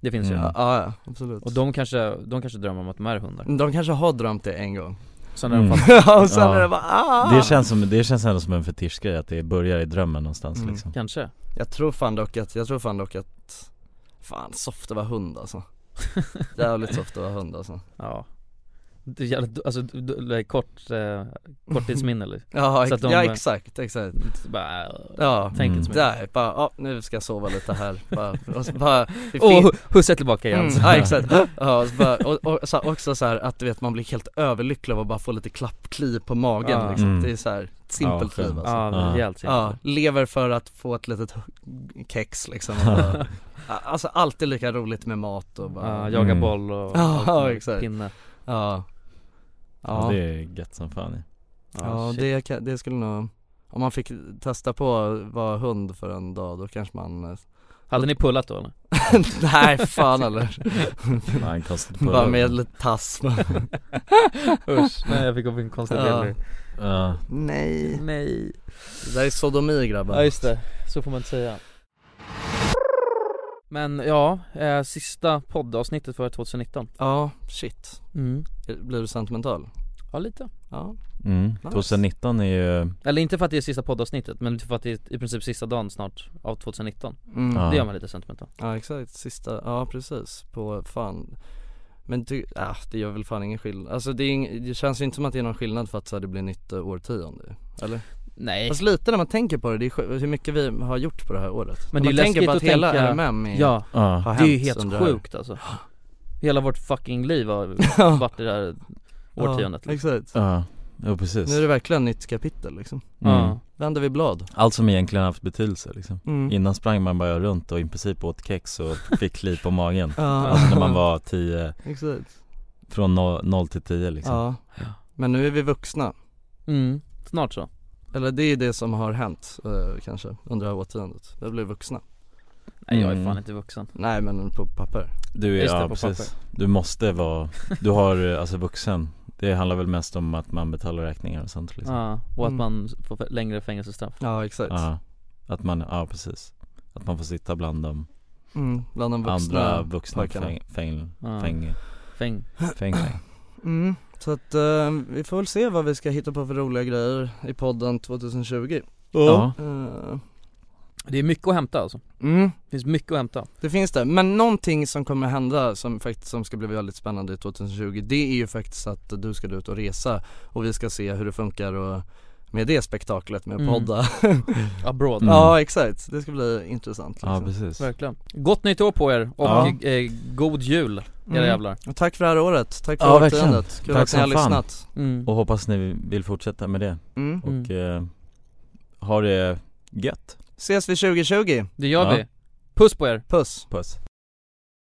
Det finns ju Mm. Ja, Mm. ja, absolut. Och de kanske, de kanske drömmer om att de är hundar De kanske har drömt det [LAUGHS] en gång Sen när de Mm. Ja, och sen är det bara ah! det, känns som, det känns ändå som en fetischgrej att det börjar i drömmen någonstans Mm. liksom Kanske [LAUGHS] Jag tror fan dock att, jag tror fan dock att Fan soft att vara hund alltså Jävligt soft att vara hund alltså Ja Det är jävligt, alltså du- du- kort, eh, [LAUGHS] korttidsminne liksom. Ja, Så ex- att de, ja eh, exakt, exakt bara, Ja, tänker inte så mycket. där, bara, ja nu ska jag sova lite här, [LAUGHS] bara, och så bara det Åh, fin- hu- husse tillbaka igen. mm, Ja exakt, ja, och, så bara, och, och så, också så här att du vet man blir helt överlycklig av att bara få lite klappkli på magen Ja. liksom. Mm. Det är så här simpelt Ja, liv [LAUGHS] alltså ja, rejält simpelt. Ja, lever för att få ett litet [LAUGHS] hu- kex liksom [LAUGHS] och bara, Alltså alltid lika roligt med mat och bara Ja, jaga Mm. boll och ja, allt ja, möjligt, exakt. pinne. Ja ja. Det är gött som fan ju. Ja, det, kan- det skulle nog, om man fick testa på att vara hund för en dag då kanske man [LAUGHS] eh, Hade ni pullat då [LAUGHS] eller? Nej fan eller Nej, konstigt på Bara det. med lite tass [LAUGHS] Usch, nej jag fick upp en konstig bild nu. Ja. Nej Nej Det där är sodomi grabbar Ja just det, så får man inte säga Men ja, eh, sista poddavsnittet för 2019 Ja, shit Mm. Blir du sentimental? Ja lite Ja Mm. Nice. 2019 är ju Eller inte för att det är sista poddavsnittet men för att det är i princip sista dagen snart av 2019 Mm. Det gör man lite sentimental Ja exakt, sista, ja precis, på fan Men du, ah, det gör väl fan ingen skillnad, alltså det, är ing, det känns ju inte som att det är någon skillnad för att så här, det blir nytt eh, årtionde eller? Nej Fast lite när man tänker på det, det är sj- hur mycket vi har gjort på det här året Men När det är man tänker läskigt på att att hela tänka, RMM är, ja, har det är ju hänt helt under- [LAUGHS] sjukt alltså Hela vårt fucking liv har varit det där årtiondet liksom. Ja, exakt Ja, ja precis Nu är det verkligen nytt kapitel liksom Mm. Ja. Vänder vi blad Allt som egentligen haft betydelse liksom. Mm. Innan sprang man bara runt och i princip åt kex [LAUGHS] och fick kli på magen Ja. Alltså när man var 10 [LAUGHS] Exakt Från 0 till 10 liksom Ja, men nu är vi vuxna Mm, snart så Eller det är det som har hänt eh, kanske under det här årtiondet, vi blir vuxna Nej jag är Mm. fan inte vuxen Nej men på papper Du är, Just det, ja på precis papper. Du måste vara, du har eh, alltså vuxen Det handlar väl mest om att man betalar räkningar och sånt liksom Ja, och att Mm. man får f- längre fängelsestraff Ja exakt Ja, att man, ja precis Att man får sitta bland de Mm, bland de vuxna andra vuxna pojkarna. fäng, fäng, Ja. fäng, Fäng [CLEARS THROAT] fäng, fäng. Mm, så att eh, vi får väl se vad vi ska hitta på för roliga grejer i podden 2020 Ja. Eh, Det är mycket att hämta alltså. Mm. Det finns mycket att hämta. Det finns det, men någonting som kommer hända som faktiskt som ska bli väldigt spännande i 2020 det är ju faktiskt att du ska ut och resa och vi ska se hur det funkar och med det spektaklet med Mm. podda [LAUGHS] Abroad. Ja exakt, det ska bli intressant liksom. Mm. Ja precis Verkligen. Gott nytt år på er och Ja. eh, god jul era Mm. jävlar. Och tack för det här året, tack för Ja verkligen, årtiondet, kul tack att ni har som fan lyssnat Mm. Och hoppas ni vill fortsätta med det Mm. Och eh, ha det gött Ses vi 2020! Det gör Ja. vi. Puss på er. Puss! Puss